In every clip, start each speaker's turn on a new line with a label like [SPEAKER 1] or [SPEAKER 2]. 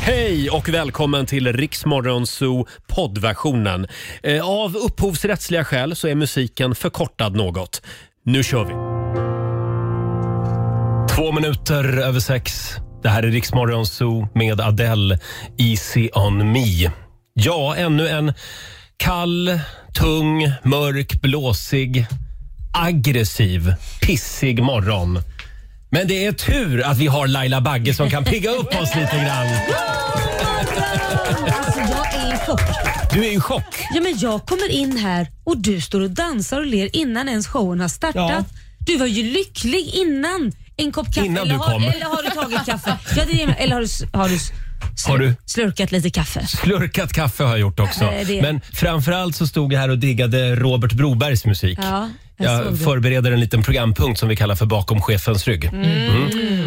[SPEAKER 1] Hej och välkommen till Riksmorgon Zoo poddversionen. Eh, Av upphovsrättsliga skäl så är musiken förkortad något. Nu kör vi! Två minuter över sex. Det här är Riksmorgon Zoo med Adele, Easy on me. Ja, ännu en kall, tung, mörk, blåsig, aggressiv, pissig morgon. Men det är tur att vi har Laila Bagge som kan pigga upp oss lite grann.
[SPEAKER 2] Alltså jag är i chock.
[SPEAKER 1] Du är i chock.
[SPEAKER 2] Ja, men jag kommer in här och du står och dansar och ler innan ens showen har startat.
[SPEAKER 1] Ja.
[SPEAKER 2] Du var ju lycklig innan en kopp kaffe.
[SPEAKER 1] Innan
[SPEAKER 2] eller,
[SPEAKER 1] du
[SPEAKER 2] har,
[SPEAKER 1] kom.
[SPEAKER 2] eller har du tagit kaffe? Ja, det är, eller har du, s- har du, s- slur,
[SPEAKER 1] Har du-
[SPEAKER 2] slurkat lite kaffe?
[SPEAKER 1] Slurkat kaffe har jag gjort också.
[SPEAKER 2] Nej, det-
[SPEAKER 1] Men framförallt så stod jag här och diggade Robert Brobergs musik.
[SPEAKER 2] Ja, jag såg
[SPEAKER 1] Jag
[SPEAKER 2] det.
[SPEAKER 1] förbereder en liten programpunkt som vi kallar för Bakom chefens rygg. Mm.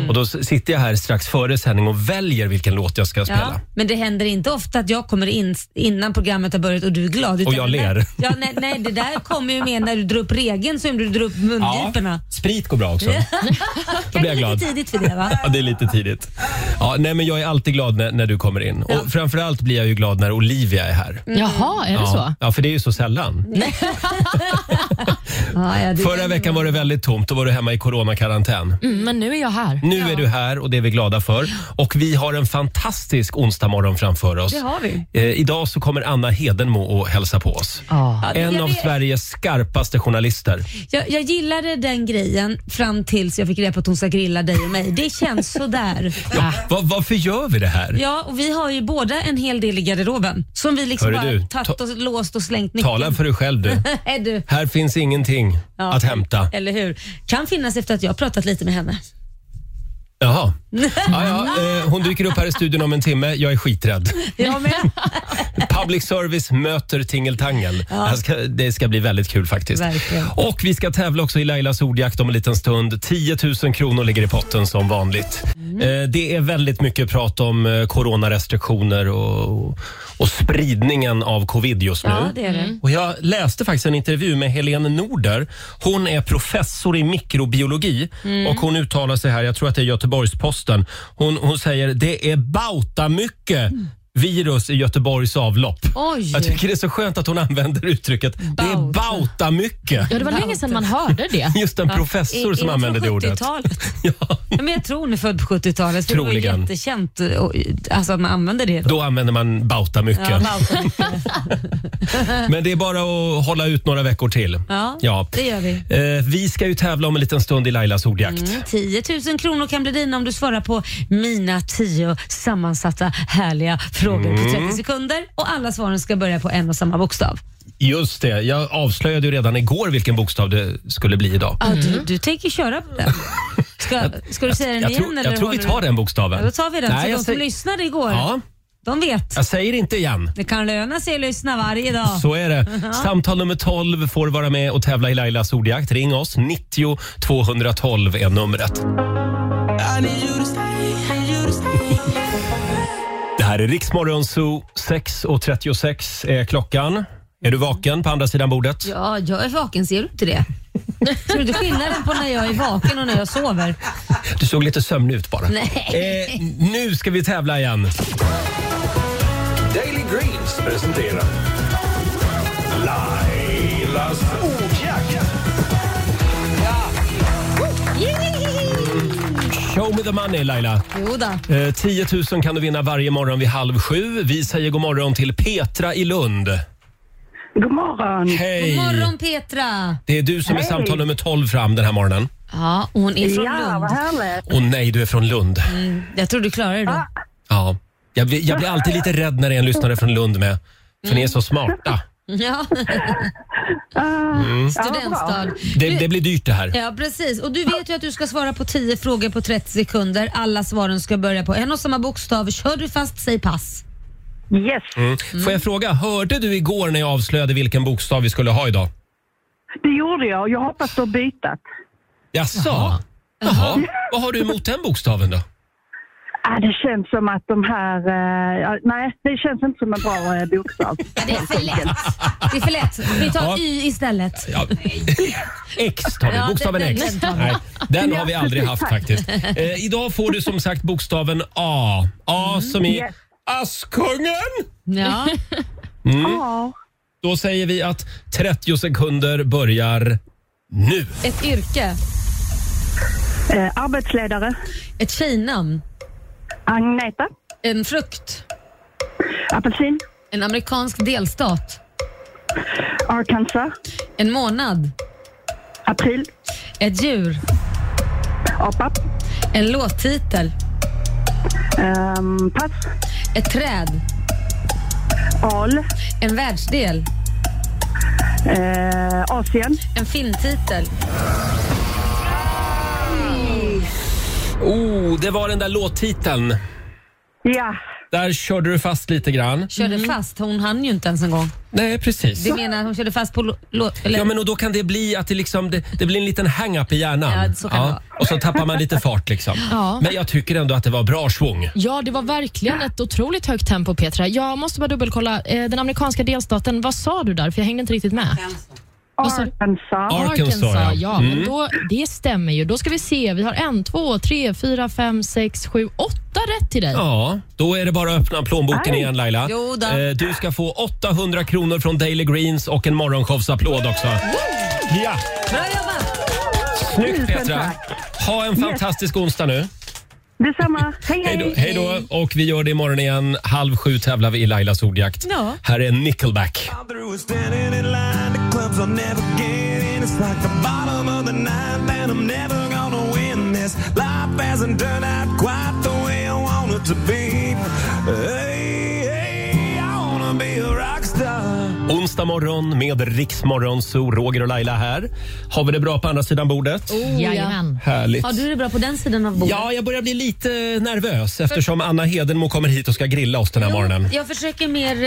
[SPEAKER 1] Och då s- sitter jag här strax före sändning och väljer vilken låt jag ska
[SPEAKER 2] Ja,
[SPEAKER 1] spela.
[SPEAKER 2] men det händer inte ofta att jag kommer in s- innan programmet har börjat och du är glad. utan
[SPEAKER 1] Och jag
[SPEAKER 2] det där-
[SPEAKER 1] ler.
[SPEAKER 2] Ja, nej, nej, det där kommer ju med när du drar upp regeln som du drar upp
[SPEAKER 1] Ja.
[SPEAKER 2] mungiporna.
[SPEAKER 1] Sprit går bra också.
[SPEAKER 2] Kan
[SPEAKER 1] blir jag
[SPEAKER 2] bli
[SPEAKER 1] glad.
[SPEAKER 2] lite tidigt för det va?
[SPEAKER 1] Ja, det är lite tidigt. Ja, nej, men jag är alltid glad när, när du kommer in. Och framförallt blir jag ju glad när Olivia är
[SPEAKER 2] Mm.
[SPEAKER 1] här.
[SPEAKER 3] Jaha, är det så?
[SPEAKER 1] Ja, ja, för det är ju så sällan.
[SPEAKER 2] Ja, ja, det-
[SPEAKER 1] Förra veckan var det väldigt tomt. Då var du hemma i coronakarantän.
[SPEAKER 3] Mm, men nu är jag här.
[SPEAKER 1] Nu är du här och det är vi glada för. Och vi har en fantastisk onsdagmorgon framför oss.
[SPEAKER 2] Det har vi.
[SPEAKER 1] Eh, idag så kommer Anna Hedenmo och hälsa på oss.
[SPEAKER 3] Ja.
[SPEAKER 1] En
[SPEAKER 2] jag
[SPEAKER 1] av
[SPEAKER 2] vet.
[SPEAKER 1] Sveriges skarpaste journalister.
[SPEAKER 2] Jag, jag gillade den grejen fram tills jag fick reda på att hon ska grilla dig och mig. Det känns sådär.
[SPEAKER 1] Ja, va, varför gör vi det här?
[SPEAKER 2] Ja, och vi har ju båda en hel del i garderoben som vi liksom
[SPEAKER 1] Hörru
[SPEAKER 2] bara
[SPEAKER 1] du,
[SPEAKER 2] tagit
[SPEAKER 1] ta-
[SPEAKER 2] och låst och slängt
[SPEAKER 1] Tala
[SPEAKER 2] nyckeln.
[SPEAKER 1] för dig själv du.
[SPEAKER 2] Är du?
[SPEAKER 1] Här finns ingenting
[SPEAKER 2] Ja.
[SPEAKER 1] att hämta.
[SPEAKER 2] Eller hur? Kan finnas efter att jag har pratat lite med henne.
[SPEAKER 1] Jaha. Ja, ja, eh, hon dyker upp här i studion om en timme. Jag är skiträdd.
[SPEAKER 2] Jag med.
[SPEAKER 1] Public service möter tingeltangel. Det här Ska, det ska bli väldigt kul faktiskt.
[SPEAKER 2] Verkligen.
[SPEAKER 1] Och vi ska tävla också i Lailas ordjakt om en liten stund. 10 000 kronor ligger i potten som vanligt.
[SPEAKER 2] Mm.
[SPEAKER 1] Eh, Det är väldigt mycket prat om eh, coronarestriktioner och, och spridningen av covid just nu.
[SPEAKER 2] Ja, det är det.
[SPEAKER 1] Och jag läste faktiskt en intervju med Helene Norder. Hon är professor i mikrobiologi
[SPEAKER 2] Mm.
[SPEAKER 1] och hon uttalar sig här, jag tror att det är Göteborgs-Posten. Hon, hon säger det är bauta mycket virus i Göteborgs avlopp.
[SPEAKER 2] Mm. Oj.
[SPEAKER 1] Jag tycker det är så skönt att hon använder uttrycket det är
[SPEAKER 2] Bauta.
[SPEAKER 1] bauta mycket.
[SPEAKER 3] Ja, det var länge sedan man hörde det.
[SPEAKER 1] Just en
[SPEAKER 2] Är-
[SPEAKER 1] professor
[SPEAKER 2] är
[SPEAKER 1] som
[SPEAKER 2] hon
[SPEAKER 1] använder det
[SPEAKER 2] från
[SPEAKER 1] ordet.
[SPEAKER 2] 70-talet?
[SPEAKER 1] Ja,
[SPEAKER 2] Ja, men jag tror hon är född på 70-talet. för Det var
[SPEAKER 1] Troligen.
[SPEAKER 2] ju jättekänt och, alltså, att man använder det då.
[SPEAKER 1] då använder man bauta mycket.
[SPEAKER 2] Ja, Bauta.
[SPEAKER 1] Men det är bara att hålla ut några veckor till.
[SPEAKER 2] Ja, det gör vi. Mm.
[SPEAKER 1] Eh, vi ska ju tävla om en liten stund i Lailas ordjakt.
[SPEAKER 2] 10 000 kronor kan bli dina om du svarar på mina 10 sammansatta härliga frågor på
[SPEAKER 1] Mm.
[SPEAKER 2] 30 sekunder. Och alla svaren ska börja på en och samma bokstav.
[SPEAKER 1] Just det, jag avslöjade ju redan igår vilken bokstav det skulle bli idag.
[SPEAKER 2] Ja, Du, du tänker köra på den. Ska, ska du säga
[SPEAKER 1] Mm.
[SPEAKER 2] den
[SPEAKER 1] Jag
[SPEAKER 2] igen?
[SPEAKER 1] tror,
[SPEAKER 2] eller
[SPEAKER 1] jag tror vi
[SPEAKER 2] håller
[SPEAKER 1] tar
[SPEAKER 2] du-
[SPEAKER 1] den
[SPEAKER 2] Ja,
[SPEAKER 1] bokstaven.
[SPEAKER 2] då tar vi den.
[SPEAKER 1] Nej,
[SPEAKER 2] så
[SPEAKER 1] jag,
[SPEAKER 2] de som
[SPEAKER 1] säger-
[SPEAKER 2] lyssnade igår,
[SPEAKER 1] ja,
[SPEAKER 2] de vet.
[SPEAKER 1] jag säger inte igen.
[SPEAKER 2] Det kan löna sig att lyssna varje dag.
[SPEAKER 1] Så är det. Samtal nummer 12 får vara med och tävla i Lailas ordjakt. Ring oss. 90 212 är numret. Det här är Riksmorgon Zoo. 6.36 är klockan. Är du vaken på andra sidan bordet?
[SPEAKER 2] Ja, jag är vaken. Ser du inte det? Ser du inte skillnaden på när jag är vaken och när jag sover?
[SPEAKER 1] Du såg lite sömnig ut bara.
[SPEAKER 2] Nej.
[SPEAKER 1] Eh, nu ska vi tävla igen.
[SPEAKER 4] Daily Greens presenterar Lailas ordjakt.
[SPEAKER 1] Show me the money Laila.
[SPEAKER 2] Jo då.
[SPEAKER 1] Eh, 10 000 kan du vinna varje morgon vid halv sju. Vi säger god morgon till Petra i Lund.
[SPEAKER 5] God morgon.
[SPEAKER 1] Hej!
[SPEAKER 2] God morgon Petra!
[SPEAKER 1] Det är du som är samtal nummer 12 fram den här morgonen.
[SPEAKER 2] Ja, hon är från
[SPEAKER 5] Ja, vad
[SPEAKER 2] Lund.
[SPEAKER 5] härligt.
[SPEAKER 1] Och nej, du är från Lund.
[SPEAKER 2] Jag tror du klarar det då.
[SPEAKER 1] Ja. Jag, blir- jag blir alltid lite rädd när det är en lyssnare från Lund med. För ni är så smarta.
[SPEAKER 2] Ja,
[SPEAKER 1] Mm.
[SPEAKER 2] studentstad.
[SPEAKER 1] Det, det blir dyrt det här.
[SPEAKER 2] Ja, precis. Och du vet ju att du ska svara på 10 frågor på 30 sekunder. Alla svaren ska börja på en och samma bokstav. Kör du fast, säg pass.
[SPEAKER 5] Yes.
[SPEAKER 1] Mm. Får jag fråga, hörde du igår när jag avslöjade vilken bokstav vi skulle ha idag?
[SPEAKER 5] Det gjorde jag. Jag hoppas du har bytt.
[SPEAKER 1] Jaså? Jaha. Vad har du emot den bokstaven då?
[SPEAKER 5] Ah, det känns som att de här... eh, ja, nej, det känns inte som en bra eh, bokstav.
[SPEAKER 2] det är för lätt. Det är för lätt. Vi tar
[SPEAKER 1] Ja.
[SPEAKER 2] Y istället.
[SPEAKER 1] Ja. X tar vi,
[SPEAKER 2] Ja,
[SPEAKER 1] bokstaven
[SPEAKER 2] den-
[SPEAKER 1] X.
[SPEAKER 2] den tar vi.
[SPEAKER 1] Nej, den har vi aldrig haft faktiskt. Eh, idag får du som sagt bokstaven A. A som i
[SPEAKER 5] Yes.
[SPEAKER 1] Askungen!
[SPEAKER 3] Ja.
[SPEAKER 5] Ja.
[SPEAKER 1] Då säger vi att 30 sekunder börjar nu.
[SPEAKER 3] Ett yrke.
[SPEAKER 5] Eh, arbetsledare.
[SPEAKER 2] Ett tjejnamn.
[SPEAKER 5] Agneta.
[SPEAKER 2] En frukt.
[SPEAKER 5] Apelsin.
[SPEAKER 2] En amerikansk delstat.
[SPEAKER 5] Arkansas.
[SPEAKER 2] En månad.
[SPEAKER 5] April.
[SPEAKER 2] Ett djur.
[SPEAKER 5] Apa.
[SPEAKER 2] En låttitel.
[SPEAKER 5] Ehm, pass.
[SPEAKER 2] Ett träd.
[SPEAKER 5] Al.
[SPEAKER 2] En världsdel.
[SPEAKER 5] Eh, Asien.
[SPEAKER 2] En filmtitel.
[SPEAKER 1] Oh, det var den där låttiteln.
[SPEAKER 5] Ja.
[SPEAKER 1] Där körde du fast lite grann.
[SPEAKER 2] Körde fast. Hon hann ju inte ens en gång.
[SPEAKER 1] Nej, precis.
[SPEAKER 2] Du menar hon körde fast på lå- låt... eller-
[SPEAKER 1] Ja, men och då kan det bli att det, liksom, det, det blir en liten hang-up i hjärnan.
[SPEAKER 2] Ja, så kan det vara.
[SPEAKER 1] och så tappar man lite fart liksom.
[SPEAKER 3] Ja.
[SPEAKER 1] Men jag tycker ändå att det var bra svung.
[SPEAKER 3] Ja, det var verkligen ett otroligt högt tempo, Petra. Jag måste bara dubbelkolla. Eh, Den amerikanska delstaten, vad sa du där? För jag hängde inte riktigt med. sa du?
[SPEAKER 5] Arkansas.
[SPEAKER 1] Arkansas, ja. Mm.
[SPEAKER 3] ja. Men då, det stämmer ju. Då ska vi se. Vi har en, två, tre, fyra, fem, sex, sju, åtta rätt till dig.
[SPEAKER 1] Ja, då är det bara att öppna plånboken igen Laila.
[SPEAKER 2] Jo då.
[SPEAKER 1] Eh, Du ska få 800 kronor från Daily Greens och en morgonshowsapplåd också. Ja,
[SPEAKER 2] Bra jobbat!
[SPEAKER 1] snyggt
[SPEAKER 5] Tusen
[SPEAKER 1] Petra.
[SPEAKER 5] tack.
[SPEAKER 1] Ha en fantastisk onsdag nu.
[SPEAKER 5] Detsamma. Hej,
[SPEAKER 1] Hej då,
[SPEAKER 5] hej.
[SPEAKER 1] hej då. Och vi gör det imorgon igen. Halv sju tävlar vi i Lailas ordjakt.
[SPEAKER 3] Ja.
[SPEAKER 1] Här är Nickelback.
[SPEAKER 6] I'm through with standing in line to clubs I'll never get in. It's like the bottom of the ninth, and I'm never gonna win this. Life hasn't turned out quite the way I want it to be. Hey, hey, I wanna be a rock star.
[SPEAKER 1] Onsdag morgon med Riksmorgon, så Roger och Laila här. Har vi det bra på andra sidan bordet?
[SPEAKER 2] Oh, ja.
[SPEAKER 3] Jajamän.
[SPEAKER 1] Härligt.
[SPEAKER 2] Har du det bra på den sidan av bordet?
[SPEAKER 1] Ja, jag börjar bli lite nervös eftersom Anna Hedenmo kommer hit och ska grilla oss den här morgonen.
[SPEAKER 2] Jag försöker mer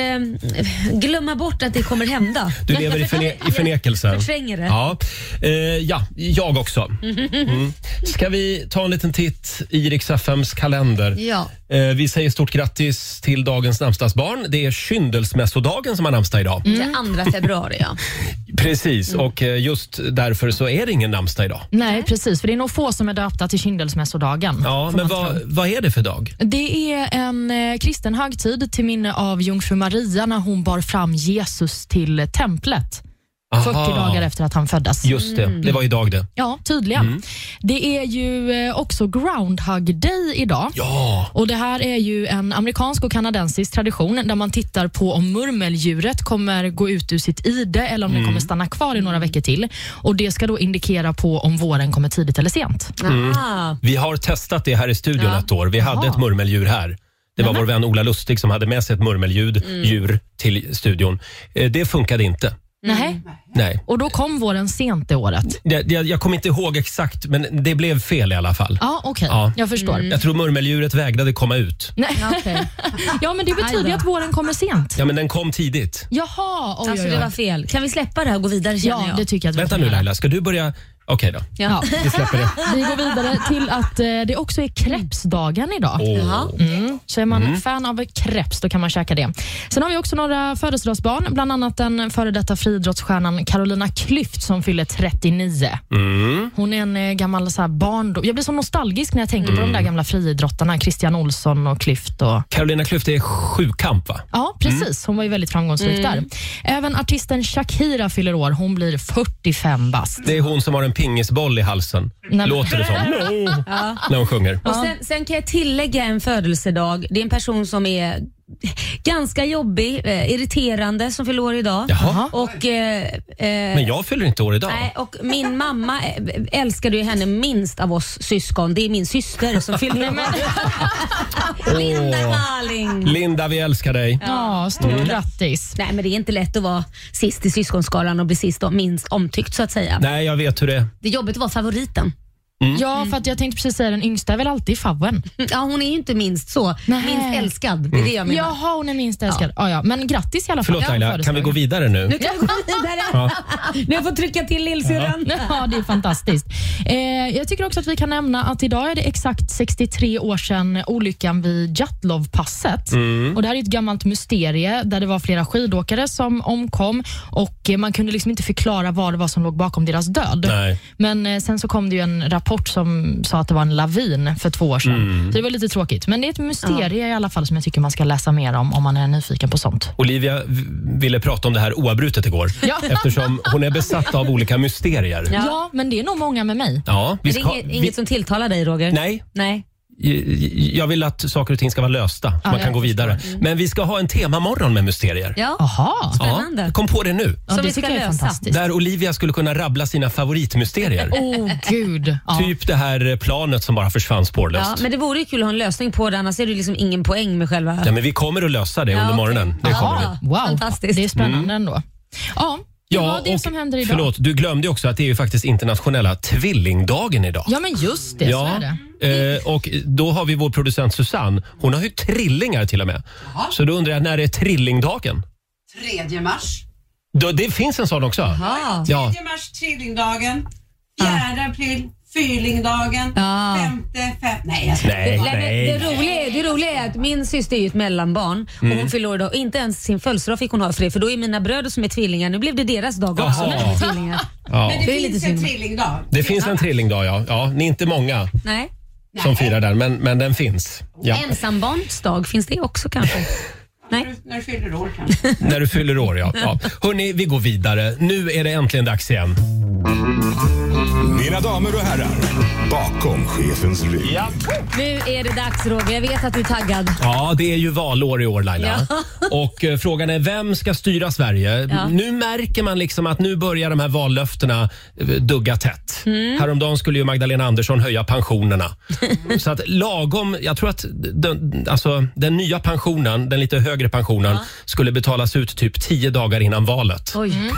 [SPEAKER 2] eh, glömma bort att det kommer hända.
[SPEAKER 1] Du lever i, förne i förnekelse.
[SPEAKER 2] Jag förtränger det.
[SPEAKER 1] Ja, eh, ja jag också. Mm. Ska vi ta en liten titt i Rix FMs kalender?
[SPEAKER 2] Ja.
[SPEAKER 1] Eh, vi säger stort grattis till dagens namnsdagsbarn. Det är kyndelsmässodagen som har namnsdag idag.
[SPEAKER 2] Det andra februari ja.
[SPEAKER 1] Precis,
[SPEAKER 2] Mm.
[SPEAKER 1] och eh, just därför så är det ingen namnsdag idag.
[SPEAKER 3] Nej, precis. För det är nog få som är döpta till Kindelsmässodagen.
[SPEAKER 1] Ja,
[SPEAKER 3] får
[SPEAKER 1] men
[SPEAKER 3] man tro.
[SPEAKER 1] vad, vad är det för dag?
[SPEAKER 3] Det är en eh, kristen högtid till minne av jungfru Maria när hon bar fram Jesus till templet. 40
[SPEAKER 1] Aha.
[SPEAKER 3] dagar efter Mm. att han föddes.
[SPEAKER 1] Just det, det var idag det.
[SPEAKER 3] Ja, tydligen.
[SPEAKER 1] Mm.
[SPEAKER 3] Det är ju eh, också Groundhog Day idag.
[SPEAKER 1] Ja,
[SPEAKER 3] Och Det här är ju en amerikansk och kanadensisk tradition där man tittar på om murmeldjuret kommer gå ut ur sitt ide eller om det
[SPEAKER 1] Mm.
[SPEAKER 3] kommer stanna kvar i några veckor till. Och Det ska då indikera på om våren kommer tidigt eller sent.
[SPEAKER 1] Mm.
[SPEAKER 2] Ah,
[SPEAKER 1] vi har testat det här i studion
[SPEAKER 2] Ja.
[SPEAKER 1] ett år. Vi hade ett murmeldjur här. Det var vår vän Ola Lustig som hade med sig ett murmeldjur
[SPEAKER 3] Mm.
[SPEAKER 1] djur till studion. Eh, Det funkade inte.
[SPEAKER 2] Mm.
[SPEAKER 3] Nej.
[SPEAKER 1] Nej.
[SPEAKER 3] Och Då kom våren sent det året.
[SPEAKER 1] Det, det, jag kommer inte ihåg exakt, men det blev fel i alla fall.
[SPEAKER 3] Ja, Mm. okej.
[SPEAKER 1] Ja.
[SPEAKER 3] Jag förstår.
[SPEAKER 2] Mm.
[SPEAKER 1] Jag tror murmeldjuret vägrade komma ut.
[SPEAKER 3] Nej.
[SPEAKER 2] okej.
[SPEAKER 3] Ja, men det betyder
[SPEAKER 2] Aj
[SPEAKER 3] ju
[SPEAKER 2] då.
[SPEAKER 3] att våren kommer sent.
[SPEAKER 1] Ja, men den kom tidigt.
[SPEAKER 3] Jaha, oj,
[SPEAKER 2] Alltså
[SPEAKER 3] oj,
[SPEAKER 2] det var
[SPEAKER 3] oj.
[SPEAKER 2] fel. Kan vi släppa det här och gå vidare känner
[SPEAKER 3] Ja,
[SPEAKER 2] jag?
[SPEAKER 3] det tycker jag att vi
[SPEAKER 1] Vänta
[SPEAKER 3] kan
[SPEAKER 1] nu
[SPEAKER 3] göra.
[SPEAKER 1] Laila, ska du börja? Okej då.
[SPEAKER 2] ja.
[SPEAKER 1] Vi släpper det.
[SPEAKER 3] Vi går vidare till att eh, det också är krepsdagen idag.
[SPEAKER 1] Åh.
[SPEAKER 2] Jaha.
[SPEAKER 3] Mm. Så är man fan av kreps, då kan man käka det. Sen har vi också några födelsedagsbarn, bland annat den före detta friidrottsstjärnan Carolina Klüft som fyller 39. Hon är en eh, gammal så här barndom... Jag blir så nostalgisk när jag tänker på de där gamla friidrottarna, Christian Olsson och Klüft. Och...
[SPEAKER 1] Carolina Klüft är sjukamp va?
[SPEAKER 3] Ja, precis. Hon var ju väldigt framgångsrik där. Även artisten Shakira fyller år. Hon blir 45 bast.
[SPEAKER 1] Det är hon som har en pingisboll i halsen.
[SPEAKER 3] men-
[SPEAKER 1] Låter det som. När hon sjunger.
[SPEAKER 2] Och sen, sen kan jag tillägga en födelsedag. Det är en person som är ganska jobbig, eh, irriterande som fyller år idag.
[SPEAKER 1] Jaha.
[SPEAKER 2] Och, eh, eh,
[SPEAKER 1] Men jag fyller inte år idag.
[SPEAKER 2] nej, och min mamma eh, älskade ju henne minst av oss syskon. Det är min syster som fyller år. Linda
[SPEAKER 1] Åh.
[SPEAKER 2] Darling.
[SPEAKER 1] Linda, vi älskar dig.
[SPEAKER 3] Ja, stort grattis.
[SPEAKER 2] Nej men det är inte lätt att vara sist i syskonskaran och bli sist och minst omtyckt så att säga.
[SPEAKER 1] Nej, jag vet hur det är.
[SPEAKER 2] Det är jobbigt att vara favoriten.
[SPEAKER 1] Mm.
[SPEAKER 3] Ja, för att jag tänkte precis säga den yngsta är väl alltid favven.
[SPEAKER 2] Mm, Ja, hon är ju inte minst så.
[SPEAKER 3] Nej.
[SPEAKER 2] Minst älskad, det
[SPEAKER 1] Mm.
[SPEAKER 2] är det jag menar.
[SPEAKER 3] Jaha, hon är minst älskad. Ja. Ja, Men grattis i alla fall.
[SPEAKER 1] Förlåt Laila, kan vi gå vidare nu?
[SPEAKER 2] Nu kan vi gå vidare. Nu har jag fått trycka till lillsyrran.
[SPEAKER 3] Ja, det är fantastiskt. Eh, jag tycker också att vi kan nämna att idag är det exakt 63 år sedan olyckan vid Jatlovpasset. Och Det här är ett gammalt mysterie där det var flera skidåkare som omkom och eh, man kunde liksom inte förklara vad det var som låg bakom deras död.
[SPEAKER 1] Nej.
[SPEAKER 3] Men eh, sen så kom det ju en rapport rapport som sa att det var en lavin för två år sedan. Så det var lite tråkigt. Men det är ett mysterium i alla fall som jag tycker man ska läsa mer om om man är nyfiken på sånt.
[SPEAKER 1] Olivia v- ville prata om det här oavbrutet igår
[SPEAKER 3] Ja.
[SPEAKER 1] eftersom hon är besatt av olika mysterier.
[SPEAKER 2] Ja.
[SPEAKER 3] Ja, men det är nog många med mig.
[SPEAKER 1] Ja, vi
[SPEAKER 2] Är det
[SPEAKER 1] ska,
[SPEAKER 2] inget,
[SPEAKER 1] vi,
[SPEAKER 2] inget som tilltalar dig Roger?
[SPEAKER 1] nej,
[SPEAKER 2] Nej.
[SPEAKER 1] j- jag vill att saker och ting ska vara lösta. så
[SPEAKER 3] Ja,
[SPEAKER 1] man
[SPEAKER 3] jag
[SPEAKER 1] kan gå vidare. Men vi ska ha en temamorgon med mysterier.
[SPEAKER 2] Mm. Ja.
[SPEAKER 3] Jaha.
[SPEAKER 2] Spännande.
[SPEAKER 1] jag kom på det nu.
[SPEAKER 3] Ja,
[SPEAKER 2] Som
[SPEAKER 3] det
[SPEAKER 2] vi ska
[SPEAKER 3] tycker jag är
[SPEAKER 2] lösa.
[SPEAKER 3] fantastiskt.
[SPEAKER 1] Där Olivia skulle kunna rabbla sina favoritmysterier.
[SPEAKER 3] Åh oh, gud. Ja.
[SPEAKER 1] Typ det här planet som bara försvann spårlöst.
[SPEAKER 2] Ja, men det vore ju kul att ha en lösning på det annars är det ju liksom ingen poäng med själva...
[SPEAKER 1] Ja, men vi kommer att lösa det
[SPEAKER 2] Ja,
[SPEAKER 1] under
[SPEAKER 2] okej.
[SPEAKER 1] morgonen. Det
[SPEAKER 2] Ja.
[SPEAKER 1] kommer vi.
[SPEAKER 2] Ja.
[SPEAKER 3] Wow,
[SPEAKER 2] Fantastiskt.
[SPEAKER 3] det är spännande ändå. Ja, det var det
[SPEAKER 1] och-
[SPEAKER 3] som händer idag.
[SPEAKER 1] Förlåt, du glömde ju också att det är ju faktiskt internationella tvillingdagen idag.
[SPEAKER 3] Ja, men just det. Så är det.
[SPEAKER 1] eh, och då har vi vår producent Susanne. Hon har ju trillingar till och med. Så då undrar jag, när är trillingdagen?
[SPEAKER 7] 3 mars.
[SPEAKER 1] Då, det finns en sån också?
[SPEAKER 2] Ja.
[SPEAKER 1] Ja.
[SPEAKER 7] 3 mars, trillingdagen. 4 april, fyrlingdagen.
[SPEAKER 2] Ja.
[SPEAKER 7] Femte, fem... Nej, jag ska...
[SPEAKER 1] Nej,
[SPEAKER 2] Nej, men
[SPEAKER 1] nej.
[SPEAKER 2] det, roliga är, det roliga är att min syster är ju ett mellanbarn och
[SPEAKER 1] Mm.
[SPEAKER 2] hon fyller år idag. Inte ens sin födelsedag fick hon ha för det, för då är mina bröder som är tvillingar, nu blev det deras dag också.
[SPEAKER 1] Jaha.
[SPEAKER 2] när de är tvillingar.
[SPEAKER 1] Ja.
[SPEAKER 7] Men det,
[SPEAKER 2] Det är
[SPEAKER 7] finns
[SPEAKER 2] lite
[SPEAKER 7] en
[SPEAKER 2] synd.
[SPEAKER 7] trillingdag.
[SPEAKER 1] Det finns en trillingdag, ja. ja. Ni är inte många
[SPEAKER 2] Nej.
[SPEAKER 1] som firar den, men, men den finns. Ja.
[SPEAKER 2] Ensambarns dag, finns det också kanske? Nej.
[SPEAKER 7] När du fyller år kanske.
[SPEAKER 1] När du fyller år, ja. ja. Hörni, vi går vidare. Nu är det äntligen dags igen.
[SPEAKER 4] Mina damer och herrar, bakom chefens rygg.
[SPEAKER 2] Nu är det dags Roger, jag vet att du är taggad.
[SPEAKER 1] Ja, det är ju valår i år Laila.
[SPEAKER 2] Ja.
[SPEAKER 1] Och eh, frågan är vem ska styra Sverige?
[SPEAKER 2] Ja.
[SPEAKER 1] Nu märker man liksom att nu börjar de här vallöftena eh, dugga tätt.
[SPEAKER 2] Mm.
[SPEAKER 1] Häromdagen skulle ju Magdalena Andersson höja pensionerna. Så att lagom, jag tror att den, alltså, den nya pensionen, den lite högre pensionen, skulle betalas ut typ tio dagar innan valet.
[SPEAKER 2] Oj,
[SPEAKER 1] Vilken,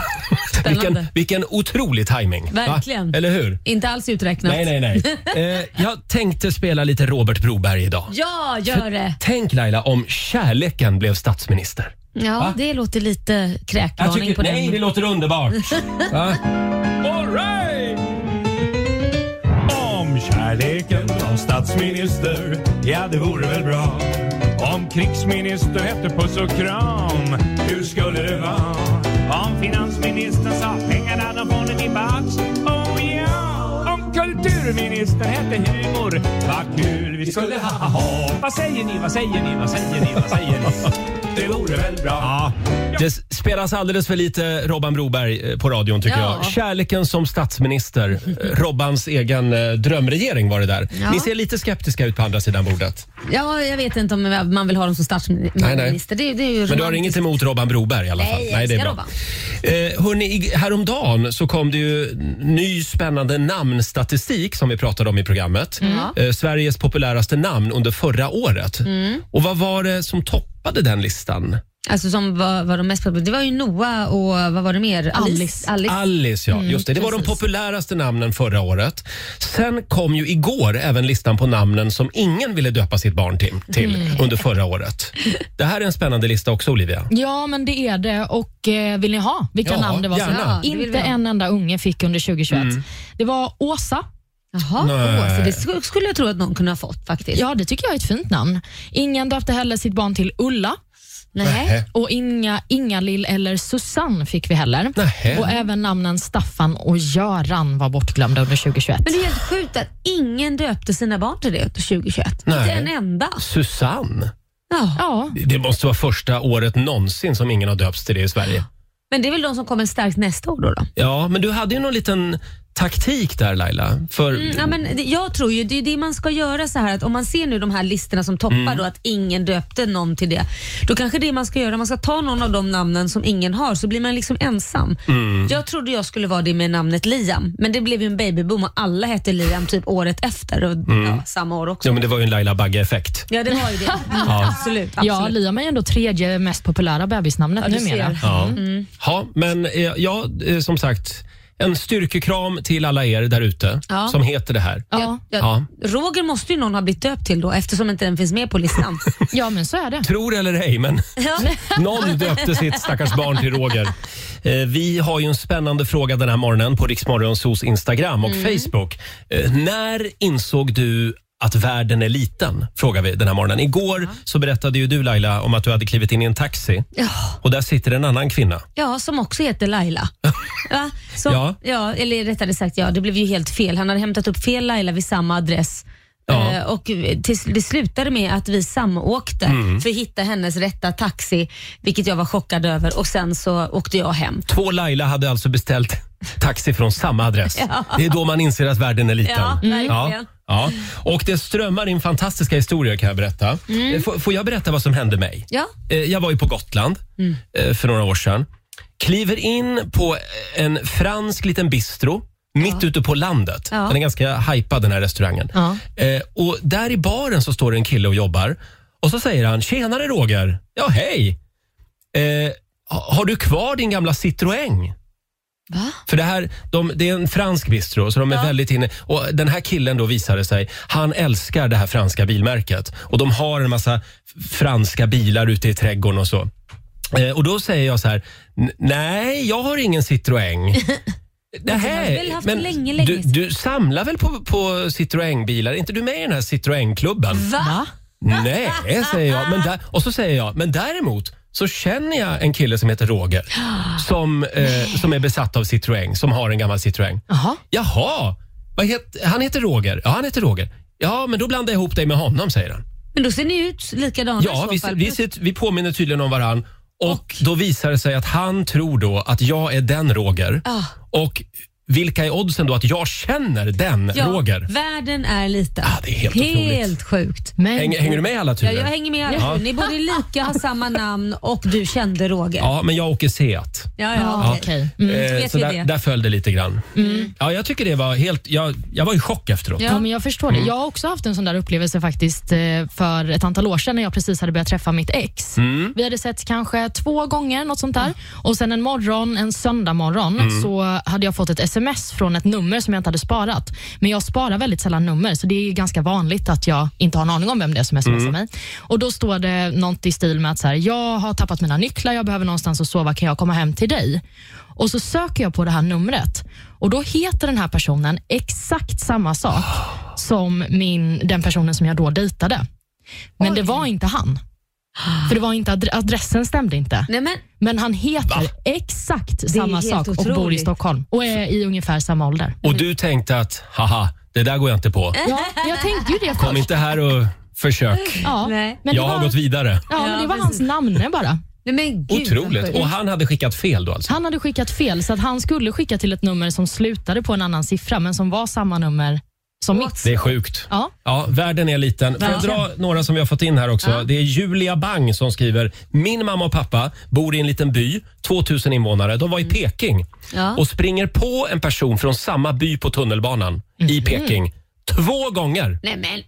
[SPEAKER 2] spännande.
[SPEAKER 1] Mm. vilken otrolig timing. va?
[SPEAKER 2] Verkligen.
[SPEAKER 1] Eller hur?
[SPEAKER 2] Inte alls uträknat.
[SPEAKER 1] Nej, nej, nej. Eh, jag tänkte spela lite Robert Broberg idag.
[SPEAKER 2] Ja, gör det.
[SPEAKER 1] Tänk Laila om kärleken blev statsminister.
[SPEAKER 2] Ja, det låter lite
[SPEAKER 1] Jag
[SPEAKER 2] kräkvarning
[SPEAKER 1] tycker,
[SPEAKER 2] på den.
[SPEAKER 1] nej, det låter underbart. Va? All right!
[SPEAKER 6] Om kärleken var statsminister, ja det vore väl bra. Om krigsminister hette puss och kram, hur skulle det vara? Om finansministern sa pengarna de får ni tillbaks, oh ja. Om kulturministern hette humor, vad kul vi skulle ha. ha. Vad säger ni, vad säger ni, vad säger ni, vad säger ni? Det vore väl bra.
[SPEAKER 1] Det spelas alldeles för lite Robban Broberg eh, på radion tycker
[SPEAKER 2] Ja.
[SPEAKER 1] jag. Kärleken som statsminister. Eh, Robbans egen eh, drömregering var det där.
[SPEAKER 2] Ja.
[SPEAKER 1] Ni ser lite skeptiska ut på andra sidan bordet.
[SPEAKER 2] Ja, jag vet inte om man vill ha dem som
[SPEAKER 1] Nej, nej.
[SPEAKER 2] statsminister. Det, är- det är ju
[SPEAKER 1] Men du har
[SPEAKER 2] romantiskt.
[SPEAKER 1] inget emot Robban Broberg i alla fall?
[SPEAKER 2] Nej, jag älskar Robban.
[SPEAKER 1] Eh, hörni, i- häromdagen så kom det ju n- ny spännande namnstatistik som vi pratade om i programmet. Eh, Sveriges populäraste namn under förra året. Och vad var det som toppade den listan?
[SPEAKER 2] Alltså som var, var de mest populära. Det var ju Noah och vad var det mer?
[SPEAKER 3] Alice.
[SPEAKER 2] Alice.
[SPEAKER 1] Alice, ja. just det. Det var de
[SPEAKER 2] precis.
[SPEAKER 1] populäraste namnen förra året. Sen kom ju igår även listan på namnen som ingen ville döpa sitt barn till, till under förra året. Det här är en spännande lista också, Olivia.
[SPEAKER 3] Ja, men det är det. Och eh, vill ni ha vilka
[SPEAKER 1] Ja,
[SPEAKER 3] namn det var? som-
[SPEAKER 1] gärna. Mm. Ja,
[SPEAKER 2] det vill vi
[SPEAKER 3] Inte
[SPEAKER 2] ha.
[SPEAKER 3] en enda unge fick under 2021. Det var Åsa.
[SPEAKER 2] Jaha,
[SPEAKER 1] Nej.
[SPEAKER 2] åh, så det sk- skulle jag tro att någon kunde ha fått faktiskt.
[SPEAKER 3] Ja, det tycker jag är ett fint namn. Ingen döpte heller sitt barn till Ulla.
[SPEAKER 2] Nej.
[SPEAKER 3] Och inga Ingalill eller Susanne fick vi heller.
[SPEAKER 1] Nähä.
[SPEAKER 3] Och även namnen Staffan och Göran var bortglömda under 2021.
[SPEAKER 2] Men det är helt sjukt att ingen döpte sina barn till det 2021.
[SPEAKER 1] Nej.
[SPEAKER 2] Inte en enda.
[SPEAKER 1] Susanne.
[SPEAKER 2] Ja.
[SPEAKER 3] Ja,
[SPEAKER 1] Det måste vara första året någonsin som ingen har döpts till det i Sverige.
[SPEAKER 2] Men det är väl de som kommer starkt nästa år då? då?
[SPEAKER 1] Ja, men du hade ju någon liten taktik där Laila. För,
[SPEAKER 2] Mm, ja, men det- jag tror ju det är det man ska göra så här att om man ser nu de här listorna som toppar då att ingen döpte någon till det. Då kanske det man ska göra, man ska ta någon av de namnen som ingen har så blir man liksom ensam. Jag trodde jag skulle vara det med namnet Liam men det blev ju en babyboom och alla hette Liam typ året efter och ja, samma år också.
[SPEAKER 1] ja, men det var ju en Laila Bagge-effekt.
[SPEAKER 2] Ja det var ju det. Mm, Absolut. absolut.
[SPEAKER 3] ja Liam är ändå tredje mest populära bebisnamnet
[SPEAKER 2] Ja, du
[SPEAKER 3] numera.
[SPEAKER 2] ser.
[SPEAKER 1] Ja.
[SPEAKER 2] Mm.
[SPEAKER 1] ja, men eh, ja, eh, som sagt. En styrkekram till alla er där ute
[SPEAKER 2] Ja.
[SPEAKER 1] som heter det här.
[SPEAKER 3] Ja,
[SPEAKER 2] Jag,
[SPEAKER 1] Ja.
[SPEAKER 2] Roger måste ju någon ha blivit döpt till då eftersom inte den finns med på listan.
[SPEAKER 3] ja, men så är det.
[SPEAKER 1] Tror eller ej, men
[SPEAKER 2] ja.
[SPEAKER 1] någon döpte sitt stackars barn till Roger. Eh, Vi har ju en spännande fråga
[SPEAKER 2] Mm.
[SPEAKER 1] den här morgonen på Riksmorgonsos Instagram och Facebook. Eh, När insåg du att världen är liten? Frågar vi den här morgonen. Igår så berättade ju du Laila om att du hade klivit in i en taxi
[SPEAKER 2] Ja,
[SPEAKER 1] och där sitter en annan kvinna.
[SPEAKER 2] ja, som också heter Laila. Va? Som,
[SPEAKER 1] Ja.
[SPEAKER 2] ja. Eller rättare sagt, ja, det blev ju helt fel. Han hade hämtat upp fel Laila vid samma adress.
[SPEAKER 1] Ja.
[SPEAKER 2] Eh, Och till, det slutade med att vi samåkte
[SPEAKER 1] Mm.
[SPEAKER 2] för att hitta hennes rätta taxi, vilket jag var chockad över. Och Sen så åkte jag hem.
[SPEAKER 1] Två Laila hade alltså beställt taxi från samma adress. Det är då man inser att världen är liten. Mm.
[SPEAKER 2] Ja, verkligen.
[SPEAKER 1] ja. Och det strömmar in fantastiska historier kan jag berätta. Eh, Får, får jag berätta vad som hände mig?
[SPEAKER 2] Mm. Ja. Mm.
[SPEAKER 1] Eh, Jag var ju på Gotland eh, för några år sedan. Kliver in på en fransk liten bistro mitt ute på landet.
[SPEAKER 2] Ja.
[SPEAKER 1] Den är ganska hypad den här restaurangen.
[SPEAKER 3] Ja.
[SPEAKER 1] Eh, och där i baren så står det en kille och jobbar. Och så säger han, tjenare Roger. Ja, hej. Eh, ha- har du kvar din gamla Citroën?
[SPEAKER 2] Va?
[SPEAKER 1] För det här, de, det är en fransk bistro, så de är väldigt inne. Och den här killen då visade sig, han älskar det här franska bilmärket. Och de har en massa f- franska bilar ute i trädgården och så. Eh, och då säger jag så här, "N- nej, jag har ingen Citroën.
[SPEAKER 2] har
[SPEAKER 1] Nähä,
[SPEAKER 2] väl haft
[SPEAKER 1] men
[SPEAKER 2] länge, länge
[SPEAKER 1] du,
[SPEAKER 2] sedan.
[SPEAKER 1] du samlar väl på, på Citroën-bilar? Är inte du med i den här Citroën-klubben?
[SPEAKER 2] Va? Mm.
[SPEAKER 1] Nej, säger jag. Men där, och så säger jag, men däremot så känner jag en kille som heter Roger som, eh, som är besatt av Citroën, som har en gammal Citroën.
[SPEAKER 3] Jaha.
[SPEAKER 1] Jaha, vad het, han heter Roger. Ja, han heter Roger. Ja, men då blandar jag ihop dig med honom, säger han.
[SPEAKER 2] Men då ser ni ut likadana i
[SPEAKER 1] Ja,
[SPEAKER 2] så
[SPEAKER 1] vi,
[SPEAKER 2] fall.
[SPEAKER 1] vi, sit- vi påminner tydligen om varann. Och, då visar det sig att han tror då att jag är den Roger.
[SPEAKER 2] Ah.
[SPEAKER 1] Och vilka är oddsen då att jag känner den
[SPEAKER 2] Ja,
[SPEAKER 1] Roger?
[SPEAKER 2] Världen är liten.
[SPEAKER 1] Ah, det är helt otroligt.
[SPEAKER 2] helt sjukt.
[SPEAKER 3] Men,
[SPEAKER 1] Hänger, hänger du med i alla
[SPEAKER 2] Ja,
[SPEAKER 1] turer?
[SPEAKER 2] jag hänger med. Ja. Ni borde lika ha samma namn och du kände Roger. Ja,
[SPEAKER 1] Ja, men jag åker Seat.
[SPEAKER 2] ja,
[SPEAKER 3] Ja,
[SPEAKER 2] okej.
[SPEAKER 3] okej. Mm.
[SPEAKER 1] Eh,
[SPEAKER 2] vet Mm.
[SPEAKER 1] så
[SPEAKER 2] vi
[SPEAKER 1] där,
[SPEAKER 2] det.
[SPEAKER 1] där föll det lite grann. Ja, jag tycker det var helt... Jag, jag var i chock efteråt.
[SPEAKER 3] Ja, men jag förstår det. Jag har också haft en sån där upplevelse faktiskt eh, för ett antal år sedan när jag precis hade börjat träffa mitt ex. Vi hade sett kanske två gånger, något sånt där. Och sen en morgon, en söndag morgon, så hade jag fått ett sms från ett nummer som jag inte hade sparat. Men jag sparar väldigt sällan nummer, så det är ju ganska vanligt att jag inte har en aning om vem det är som smsar mig. Och då står det något i stil med att så här, jag har tappat mina nycklar, jag behöver någonstans att sova, kan jag komma hem till dig? Och så söker jag på det här numret och då heter den här personen exakt samma sak som min, den personen som jag då dejtade. Men det var inte han. För det var inte adre- adressen stämde inte.
[SPEAKER 2] Nej, men,
[SPEAKER 3] Men han heter exakt samma
[SPEAKER 2] helt
[SPEAKER 3] sak och bor i
[SPEAKER 2] otroligt.
[SPEAKER 3] Stockholm och är i ungefär samma ålder.
[SPEAKER 1] Och du tänkte att, haha, det där går jag inte på.
[SPEAKER 2] Eh.
[SPEAKER 3] Ja, jag tänkte ju det
[SPEAKER 1] Kom
[SPEAKER 3] först.
[SPEAKER 1] inte här och försök.
[SPEAKER 3] Ja,
[SPEAKER 2] Nej.
[SPEAKER 3] men det
[SPEAKER 1] Jag har
[SPEAKER 3] var,
[SPEAKER 1] gått vidare.
[SPEAKER 3] ja, men
[SPEAKER 2] Ja,
[SPEAKER 3] det var hans
[SPEAKER 2] precis.
[SPEAKER 3] namne bara.
[SPEAKER 2] nej, men gud, vad
[SPEAKER 1] Otroligt.
[SPEAKER 2] sjukt.
[SPEAKER 1] Och han hade skickat fel då alltså.
[SPEAKER 3] Han hade skickat fel, så att han skulle skicka till ett nummer som slutade på en annan siffra, men som var samma nummer som mitt.
[SPEAKER 1] Det är sjukt.
[SPEAKER 3] Ja.
[SPEAKER 1] Ja, världen är liten. Får jag dra några som vi har fått in här också? Det är Julia Bang som skriver. Min mamma och pappa bor i en liten by, 2000 invånare. De var i Peking
[SPEAKER 2] Ja.
[SPEAKER 1] och springer på en person från samma by på tunnelbanan i Peking. Två gånger!
[SPEAKER 2] Nej, men.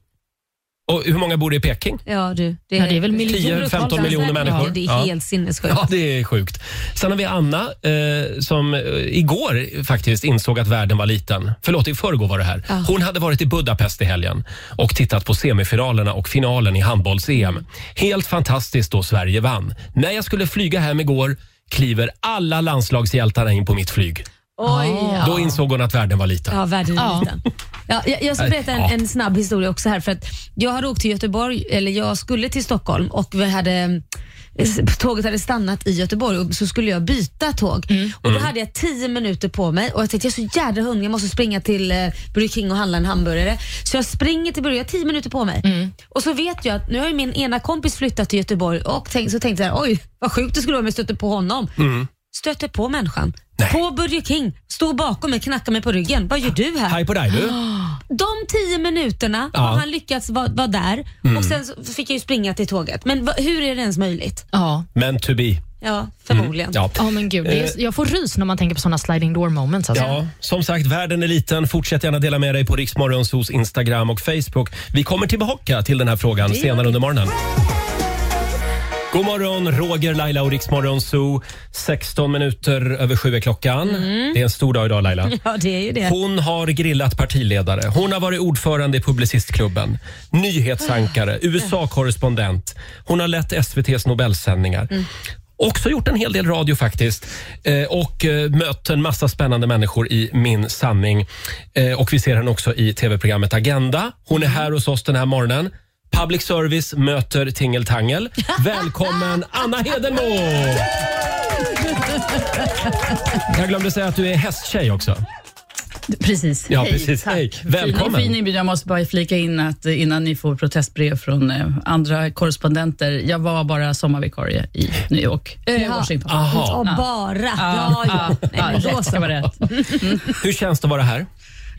[SPEAKER 1] Och hur många bor det i Peking?
[SPEAKER 2] Ja, du, det,
[SPEAKER 3] Ja, det är väl miljoner.
[SPEAKER 1] 10-15 miljoner människor.
[SPEAKER 2] Ja, det är
[SPEAKER 1] Ja.
[SPEAKER 2] helt sinnessjukt.
[SPEAKER 1] Ja, det är sjukt. Sen har vi Anna eh, som eh, igår faktiskt insåg att världen var liten. Förlåt, i förrgår var det här. Hon hade varit i Budapest i helgen och tittat på semifinalerna och finalen i handbolls-EM. Helt fantastiskt då Sverige vann. När jag skulle flyga hem igår kliver alla landslagshjältarna in på mitt flyg.
[SPEAKER 2] Oj, ja.
[SPEAKER 1] Då insåg hon att världen var liten.
[SPEAKER 2] Ja, världen är
[SPEAKER 3] Ja.
[SPEAKER 2] liten. Ja, jag, jag ska berätta en,
[SPEAKER 1] Ja.
[SPEAKER 2] en snabb historia också här. För att jag hade åkt till Göteborg, eller jag skulle till Stockholm och vi hade eh, Tåget hade stannat i Göteborg och så skulle jag byta tåg. Och Då hade jag tio minuter på mig och jag tänkte jag är så jädra hungrig, jag måste springa till eh, Burger King och handla en hamburgare. Så jag springer till Burger, jag har tio minuter på mig. Och så vet jag att nu har ju min ena kompis flyttat till Göteborg och tänk, så tänkte jag oj vad sjukt det skulle vara om jag stötte på honom stöter på människan. På Burger King, står bakom mig, knackar mig på ryggen. Vad gör du här?
[SPEAKER 1] Hej på dig du!
[SPEAKER 2] De tio minuterna
[SPEAKER 1] Ja. Mm.
[SPEAKER 2] har han lyckats vara vara där och sen så fick jag ju springa till tåget. Men va, hur är det ens möjligt?
[SPEAKER 3] Ja.
[SPEAKER 1] Men to be.
[SPEAKER 2] Ja, förmodligen.
[SPEAKER 1] Mm, Ja.
[SPEAKER 3] Ja men gud, det är, jag får rys när man tänker på såna sliding door moments. Alltså.
[SPEAKER 1] Eh. Ja, som sagt, världen är liten. Fortsätt gärna dela med dig på Riksmorgonsos Instagram och Facebook. Vi kommer tillbaka till den här frågan senare under morgonen. God morgon, Roger, Laila och Riksmorgonso. 16 minuter över sju är klockan. Det är en stor dag idag, Laila.
[SPEAKER 2] Ja, det är ju det.
[SPEAKER 1] Hon har grillat partiledare. Hon har varit ordförande i Publicistklubben, nyhetsankare, USA-korrespondent. Hon har lett SVTs Nobelsändningar. också gjort en hel del radio faktiskt eh, och eh, mött en massa spännande människor i Min sanning. Eh, och vi ser henne också i tv-programmet Agenda. Hon är här hos oss den här morgonen. Public service möter tingeltangel. Välkommen Anna Hedenmo! Jag glömde säga att du är hästtjej också.
[SPEAKER 8] Precis.
[SPEAKER 1] Ja, precis. Hej. Välkommen.
[SPEAKER 8] Fin, fin inbjudan. Jag måste bara flika in att eh, innan ni får protestbrev från eh, andra korrespondenter, jag var bara sommarvikarie i New York. Eh,
[SPEAKER 2] Jaha.
[SPEAKER 8] Washington.
[SPEAKER 1] Aha.
[SPEAKER 2] Och bara. Ja, ja. Nej, men då
[SPEAKER 8] rätt ska
[SPEAKER 2] så.
[SPEAKER 8] vara rätt.
[SPEAKER 1] Hur känns det att vara här?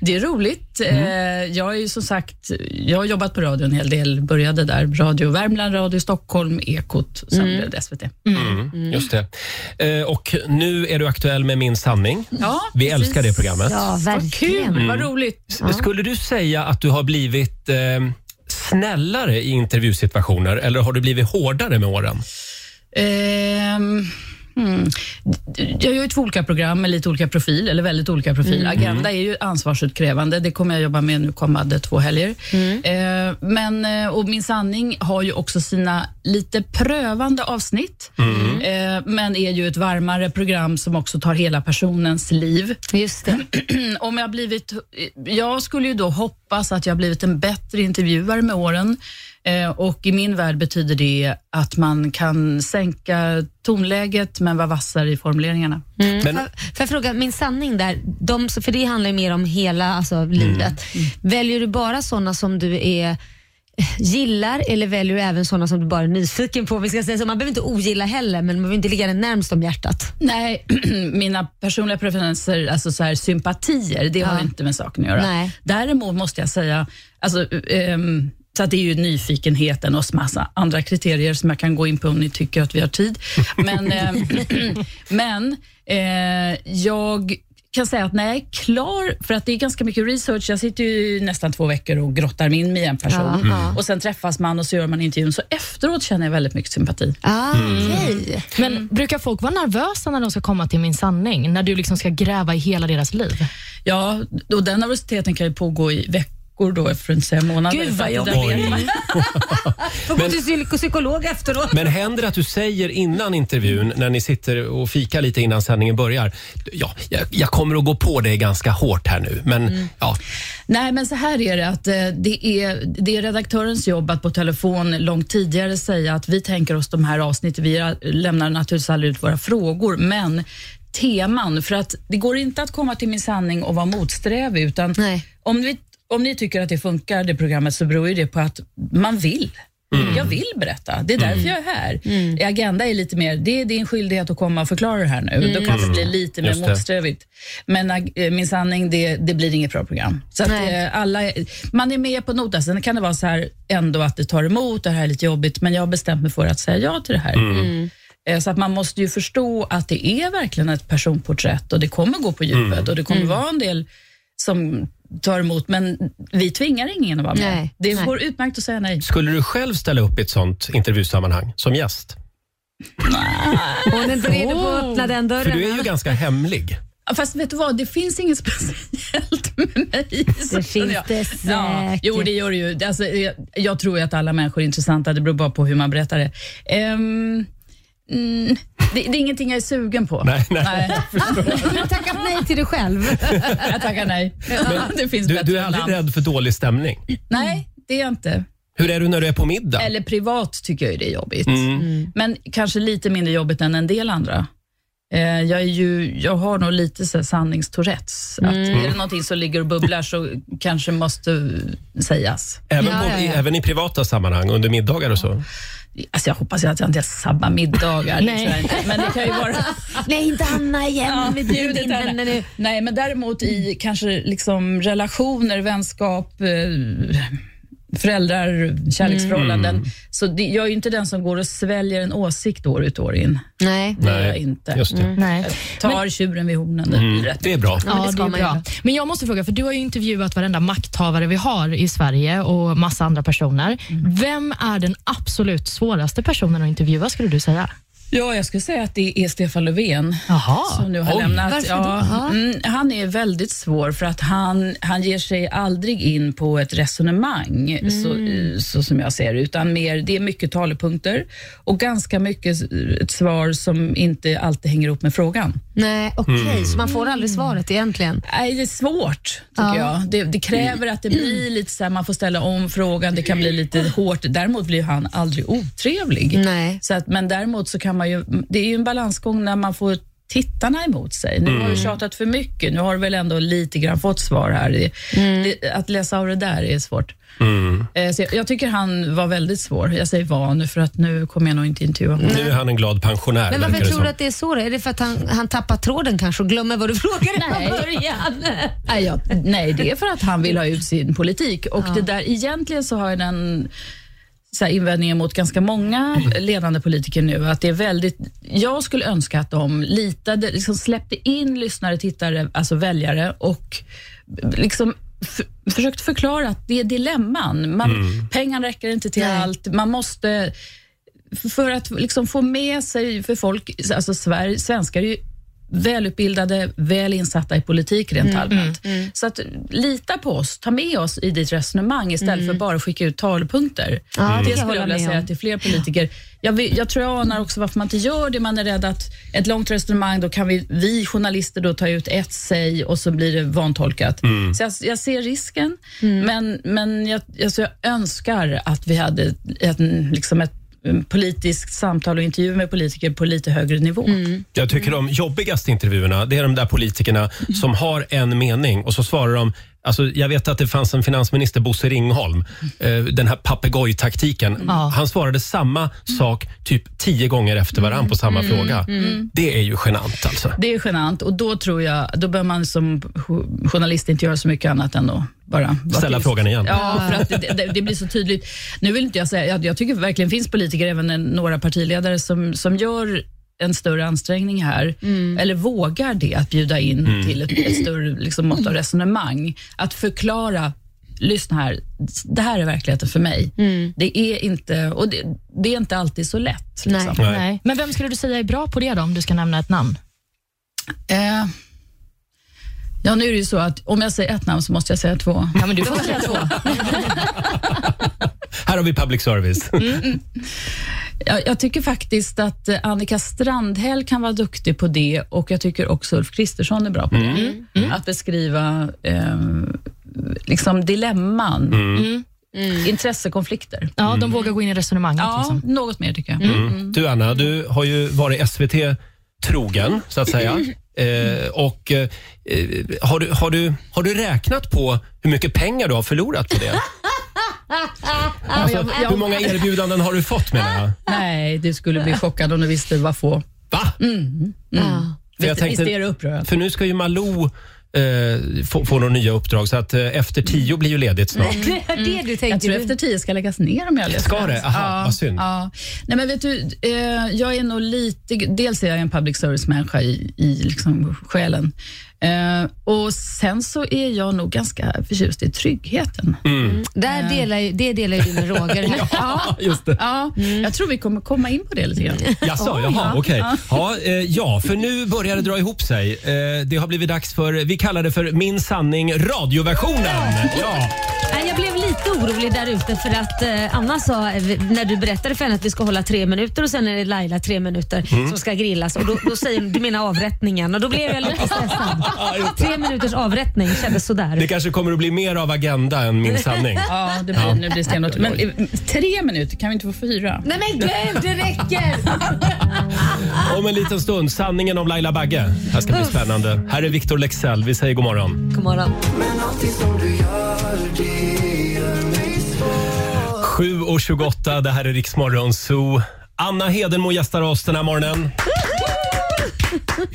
[SPEAKER 8] Det är roligt.
[SPEAKER 1] Mm.
[SPEAKER 8] Eh, Jag är ju som sagt, jag har jobbat på radio en hel del. Började där, Radio Värmland, Radio Stockholm, Ekot, sen
[SPEAKER 2] Mm.
[SPEAKER 8] blev det SVT. Mm.
[SPEAKER 1] Just det. Eh, Och nu är du aktuell med Min sanning.
[SPEAKER 8] Ja,
[SPEAKER 1] Vi älskar det programmet.
[SPEAKER 2] Ja,
[SPEAKER 8] Vad kul,
[SPEAKER 2] verkligen.
[SPEAKER 8] vad roligt.
[SPEAKER 1] Skulle du säga att du har blivit eh, snällare i intervjusituationer eller har du blivit hårdare med åren?
[SPEAKER 8] Ehm, hmm. Jag gör ju två olika program med lite olika profil, eller väldigt olika profil. Agenda är ju ansvarsutkrävande, det kommer jag jobba med nu kommande två helger. Ehm, men, eh, och Min sanning har ju också sina lite prövande avsnitt, Ehm, men är ju ett varmare program som också tar hela personens liv.
[SPEAKER 2] Just det.
[SPEAKER 8] Om jag blivit, jag skulle ju då hoppas att jag blivit en bättre intervjuare med åren eh, och i min värld betyder det att man kan sänka tonläget men vara vassare i formuleringarna.
[SPEAKER 1] Men,
[SPEAKER 2] eh, Får- Får jag fråga, min sanning där, de, som- för det handlar ju mer om hela alltså,
[SPEAKER 1] Mm.
[SPEAKER 2] livet. Väljer du bara sådana som du är eh, gillar eller väljer du även sådana som du bara är nyfiken på? Vi ska säga så, man behöver inte ogilla heller, men man behöver inte ligga den närmst om hjärtat.
[SPEAKER 8] Nej, mina personliga preferenser, alltså så här, sympatier, det har
[SPEAKER 2] Ja.
[SPEAKER 8] ju inte med saken att göra.
[SPEAKER 2] Nej.
[SPEAKER 8] Däremot måste jag säga, alltså, ehm, så att det är ju nyfikenheten och massa andra kriterier som jag kan gå in på om ni tycker att vi har tid. Men, ehm, men eh, jag kan säga att när jag är klar, för att det är ganska mycket research, jag sitter ju nästan två veckor och grottar mig in med en person
[SPEAKER 2] Ja, ja.
[SPEAKER 8] och sen träffas man och så gör man intervjun, så efteråt känner jag väldigt mycket sympati.
[SPEAKER 2] Ah,
[SPEAKER 1] Mm.
[SPEAKER 2] Okej.
[SPEAKER 3] Men brukar folk vara nervösa när de ska komma till min sanning? När du liksom ska gräva i hela deras liv?
[SPEAKER 8] Ja, och den nervositeten kan ju pågå i veckor då, för att inte säga månader.
[SPEAKER 2] Gud, vad
[SPEAKER 8] För att det där
[SPEAKER 1] jobbigt.
[SPEAKER 8] vet man.
[SPEAKER 2] Får gå till psyk- psykolog efteråt.
[SPEAKER 1] men händer det att du säger innan intervjun, när ni sitter och fikar lite innan sändningen börjar, ja, jag, jag kommer att gå på dig ganska hårt här nu, men
[SPEAKER 8] Mm.
[SPEAKER 1] ja,
[SPEAKER 8] Nej, men så här är det att eh, det är, det är redaktörens jobb att på telefon långt tidigare säga att vi tänker oss de här avsnitten. Vi ra- lämnar naturligtvis aldrig ut våra frågor, men teman, för att det går inte att komma till min sanning och vara motsträvig, utan
[SPEAKER 2] Nej.
[SPEAKER 8] om vi om ni tycker att det funkar, det programmet, så beror ju det på att man vill.
[SPEAKER 1] Mm.
[SPEAKER 8] Jag vill berätta. Det är därför jag är här. Agenda är lite mer, det är din skyldighet att komma och förklara det här nu. Då kan det bli lite mer
[SPEAKER 1] Just det.
[SPEAKER 8] motsträvigt. Men ag- eh, Min sanning, det, det blir inget bra program. Så att,
[SPEAKER 2] Nej.
[SPEAKER 8] eh, alla, är- man är med på notan. Sen kan det vara så här ändå att det tar emot, det här är lite jobbigt, men jag har bestämt mig för att säga ja till det här.
[SPEAKER 2] Mm.
[SPEAKER 8] Eh, Så att man måste ju förstå att det är verkligen ett personporträtt och det kommer gå på djupet och det kommer
[SPEAKER 2] Mm.
[SPEAKER 8] vara en del som tar emot, men vi tvingar ingen att vara med.
[SPEAKER 2] Nej,
[SPEAKER 8] det
[SPEAKER 2] nej.
[SPEAKER 8] går utmärkt att säga nej.
[SPEAKER 1] skulle du själv ställa upp i ett sånt intervjusammanhang som gäst?
[SPEAKER 2] Hon är inte redo på att öppna den
[SPEAKER 1] Oh. För du
[SPEAKER 2] dörren.
[SPEAKER 1] är ju ganska hemlig.
[SPEAKER 8] Ja, Fast vet du vad, det finns inget speciellt med mig. så
[SPEAKER 2] Det
[SPEAKER 8] känner
[SPEAKER 2] finns
[SPEAKER 8] jag.
[SPEAKER 2] det
[SPEAKER 8] Ja,
[SPEAKER 2] säkert.
[SPEAKER 8] jo, det gör det ju. Alltså, jag, jag tror ju att alla människor är intressanta, det beror bara på hur man berättar det. Ehm, mm, det, det är ingenting jag är sugen på.
[SPEAKER 1] Nej, nej.
[SPEAKER 2] Du har tackat nej till dig själv.
[SPEAKER 8] Jag tackar nej. det finns
[SPEAKER 1] Du,
[SPEAKER 8] bättre
[SPEAKER 1] du är aldrig
[SPEAKER 8] namn.
[SPEAKER 1] rädd för dålig stämning.
[SPEAKER 8] Nej, det är jag inte.
[SPEAKER 1] Hur är du när du är på middag?
[SPEAKER 8] Eller privat tycker jag ju det är jobbigt. Men kanske lite mindre jobbigt än en del andra. Eh, Jag, är ju, jag har nog lite så här sanningstourettes. Att Är det någonting som ligger och bubblar så kanske måste sägas.
[SPEAKER 1] Även,
[SPEAKER 2] Ja,
[SPEAKER 1] på,
[SPEAKER 2] ja, ja.
[SPEAKER 1] även i privata sammanhang, under middagar och så?
[SPEAKER 8] Alltså jag hoppas ju att jag inte sabbar middagar. Det tror jag inte. Men det kan ju vara...
[SPEAKER 2] Nej, inte Anna igen. med din,
[SPEAKER 8] Ljudet
[SPEAKER 2] din,
[SPEAKER 8] är
[SPEAKER 2] din,
[SPEAKER 8] där.
[SPEAKER 2] nu.
[SPEAKER 8] Nej, men däremot i kanske liksom relationer, vänskap, eh, föräldrar, kärleksförhållanden. Så det, jag är ju inte den som går och sväljer en åsikt år ut och år in.
[SPEAKER 2] Nej.
[SPEAKER 8] Det är jag inte.
[SPEAKER 1] Just det. Mm.
[SPEAKER 3] Nej.
[SPEAKER 8] Tar tjuren vid hornen. det är rätt.
[SPEAKER 1] Det är bra.
[SPEAKER 2] men det
[SPEAKER 3] Mm. Ja,
[SPEAKER 2] ska
[SPEAKER 3] det är
[SPEAKER 2] man
[SPEAKER 3] bra.
[SPEAKER 2] göra.
[SPEAKER 3] Men jag måste fråga, för du har ju intervjuat varenda makthavare vi har i Sverige och
[SPEAKER 2] Mm.
[SPEAKER 3] massa andra personer. Vem är den absolut svåraste personen att intervjua skulle du säga?
[SPEAKER 8] Ja, jag skulle säga att det är Stefan Löfven
[SPEAKER 3] Jaha.
[SPEAKER 8] som nu har
[SPEAKER 1] Oj.
[SPEAKER 8] lämnat.
[SPEAKER 2] Varför
[SPEAKER 8] Ja,
[SPEAKER 2] då?
[SPEAKER 8] mm, han är väldigt svår för att han, han ger sig aldrig in på ett resonemang, så, eh, så som jag ser det, utan mer, det är mycket talepunkter och ganska mycket s- ett svar som inte alltid hänger ihop med frågan.
[SPEAKER 2] Nej, okej,
[SPEAKER 1] Mm.
[SPEAKER 2] så man får aldrig svaret egentligen.
[SPEAKER 8] Nej, det är svårt, tycker
[SPEAKER 2] Ja.
[SPEAKER 8] jag. Det, det kräver att det blir lite så här, man får ställa om frågan, det kan bli lite hårt. Däremot blir han aldrig otrevlig.
[SPEAKER 2] Nej.
[SPEAKER 8] Så att, men däremot så kan man ju, det är ju en balansgång när man får tittarna emot sig. Nu har du tjatat för mycket, nu har du väl ändå lite grann fått svar här. Det,
[SPEAKER 2] Mm.
[SPEAKER 8] det, att läsa av det där är svårt. Eh, Så jag, jag tycker han var väldigt svår. Jag säger var nu, för att nu kommer jag nog inte intervjua honom.
[SPEAKER 1] Nu är han en glad pensionär.
[SPEAKER 2] Men
[SPEAKER 1] verkar
[SPEAKER 2] varför
[SPEAKER 1] det
[SPEAKER 2] tror
[SPEAKER 1] som.
[SPEAKER 2] du att det är så? Då? Är det för att han, han tappar tråden kanske och glömmer vad du frågade
[SPEAKER 1] Mm.
[SPEAKER 8] Nej.
[SPEAKER 2] från början?
[SPEAKER 8] Nej, jag, nej, det är för att han vill ha ut sin politik. Och det där, egentligen så har jag den så här, invändningen mot ganska många ledande politiker nu, att det är väldigt... Jag skulle önska att de litade, liksom släppte in lyssnare, tittare, alltså väljare och liksom f- försökt förklara att det är dilemman. Man, Pengarna räcker inte till
[SPEAKER 2] Nej.
[SPEAKER 8] allt. Man måste för att liksom få med sig för folk, alltså Sverige, svenskar är ju välutbildade, väl insatta i politik rent
[SPEAKER 2] Mm,
[SPEAKER 8] allmänt. Så att lita på oss, ta med oss i ditt resonemang istället för bara att skicka ut talepunkter.
[SPEAKER 2] Mm. det kan
[SPEAKER 8] Det
[SPEAKER 2] jag
[SPEAKER 8] skulle
[SPEAKER 2] hålla
[SPEAKER 8] jag vilja
[SPEAKER 2] med
[SPEAKER 8] säga
[SPEAKER 2] om.
[SPEAKER 8] till fler politiker. Jag, vill, jag tror jag anar också varför man inte gör det. Man är rädd att ett långt resonemang, då kan vi, vi journalister då ta ut ett säg och så blir det vantolkat. Så jag, jag ser risken, men, men jag, alltså jag önskar att vi hade ett, liksom ett mm, politiskt samtal och intervju med politiker på lite högre nivå.
[SPEAKER 1] Jag tycker de jobbigaste intervjuerna, det är de där politikerna som har en mening och så svarar de Alltså, jag vet att det fanns en finansminister, Bosse Ringholm, eh, den här papegojtaktiken. Han svarade samma sak typ tio gånger efter varann på samma fråga. Det är ju genant alltså.
[SPEAKER 8] Det är genant och då tror jag, då bör man som jo- journalist inte göra så mycket annat än att bara vara
[SPEAKER 1] Ställa
[SPEAKER 8] tyst.
[SPEAKER 1] frågan igen.
[SPEAKER 8] Ja, för att det, det, det blir så tydligt. Nu vill inte jag säga, jag, jag tycker verkligen finns politiker, även en- några partiledare som, som gör en större ansträngning här, eller vågar det, att bjuda in
[SPEAKER 1] Mm.
[SPEAKER 8] till ett, ett större liksom, mått av resonemang. Att förklara, lyssna här, det här är verkligheten för mig. Det är inte, och det, det är inte alltid så lätt. Liksom.
[SPEAKER 2] Nej.
[SPEAKER 1] Nej.
[SPEAKER 3] Nej. Men vem skulle du säga är bra på det då, om du ska nämna ett namn?
[SPEAKER 8] Eh, ja, nu är det ju så att om jag säger ett namn så måste jag säga två.
[SPEAKER 3] Ja, men du får säga två.
[SPEAKER 1] Här har vi public service.
[SPEAKER 8] Jag, jag tycker faktiskt att eh, Annika Strandhäll kan vara duktig på det och jag tycker också Ulf Kristersson är bra på
[SPEAKER 3] Mm.
[SPEAKER 8] det. Att beskriva eh, liksom dilemman,
[SPEAKER 3] Mm.
[SPEAKER 8] intressekonflikter.
[SPEAKER 3] Ja,
[SPEAKER 1] Mm.
[SPEAKER 3] de vågar gå in i resonemanget.
[SPEAKER 8] Ja,
[SPEAKER 3] Liksom.
[SPEAKER 8] något mer tycker jag.
[SPEAKER 1] Du Anna, du har ju varit SVT trogen så att säga. Eh, och eh, har, du, har, du, har du räknat på hur mycket pengar du har förlorat på det? Alltså, hur många erbjudanden har du fått menar jag?
[SPEAKER 8] Nej, du skulle bli chockad om du visste vad få.
[SPEAKER 1] Va? För,
[SPEAKER 2] Ja.
[SPEAKER 1] jag
[SPEAKER 8] Visst- Visst är
[SPEAKER 1] tänkte,
[SPEAKER 8] det upprörande?
[SPEAKER 1] för nu ska ju Malou eh, få, få några nya uppdrag så att eh, efter tio blir ju ledigt snart.
[SPEAKER 2] Det är det du
[SPEAKER 8] Jag
[SPEAKER 2] tänker.
[SPEAKER 8] tror
[SPEAKER 2] du-
[SPEAKER 8] Efter tio ska läggas ner om jag läser
[SPEAKER 1] Ska det? Aha, vad synd.
[SPEAKER 8] Ja. Nej, men vet du, eh, jag är nog lite... Dels är jag en public service-människa i, i liksom själen. Eh, och sen så är jag nog ganska förtjust i tryggheten.
[SPEAKER 1] Mm.
[SPEAKER 2] Där delar, ju- det delar ju du med Roger.
[SPEAKER 1] Ja, just det.
[SPEAKER 8] Ja, Jag tror vi kommer komma in på det lite grann.
[SPEAKER 1] Jaså, jaha, okej. Ja, eh, ja, för nu börjar det dra ihop sig. Eh, det har blivit dags för, vi kallar det för Min sanning radioversionen. Ja.
[SPEAKER 2] Nej, Jag blev lite orolig där ute för att eh, Anna sa eh, vi- när du berättade för henne att vi ska hålla tre minuter och sen är det Laila tre minuter som ska grillas och då, då säger hon, du menar avrättningen och då blev jag lite stressad. tre minuters avrättning kändes
[SPEAKER 1] Det
[SPEAKER 2] sådär.
[SPEAKER 1] kanske kommer att bli mer av Agenda än Min sanning.
[SPEAKER 8] Ja, det blir, Nu blir det stenhårt. Men eh, tre minuter, kan vi inte få fyra?
[SPEAKER 2] Nej men gud, det räcker!
[SPEAKER 1] Om en liten stund, sanningen om Laila Bagge. Det här ska bli spännande. Här är Victor Lexell. Vi säger god morgon.
[SPEAKER 2] God morgon.
[SPEAKER 1] 7.28, det här är Riksmorgon Zoo. Anna Hedenmo gästar oss den här morgonen.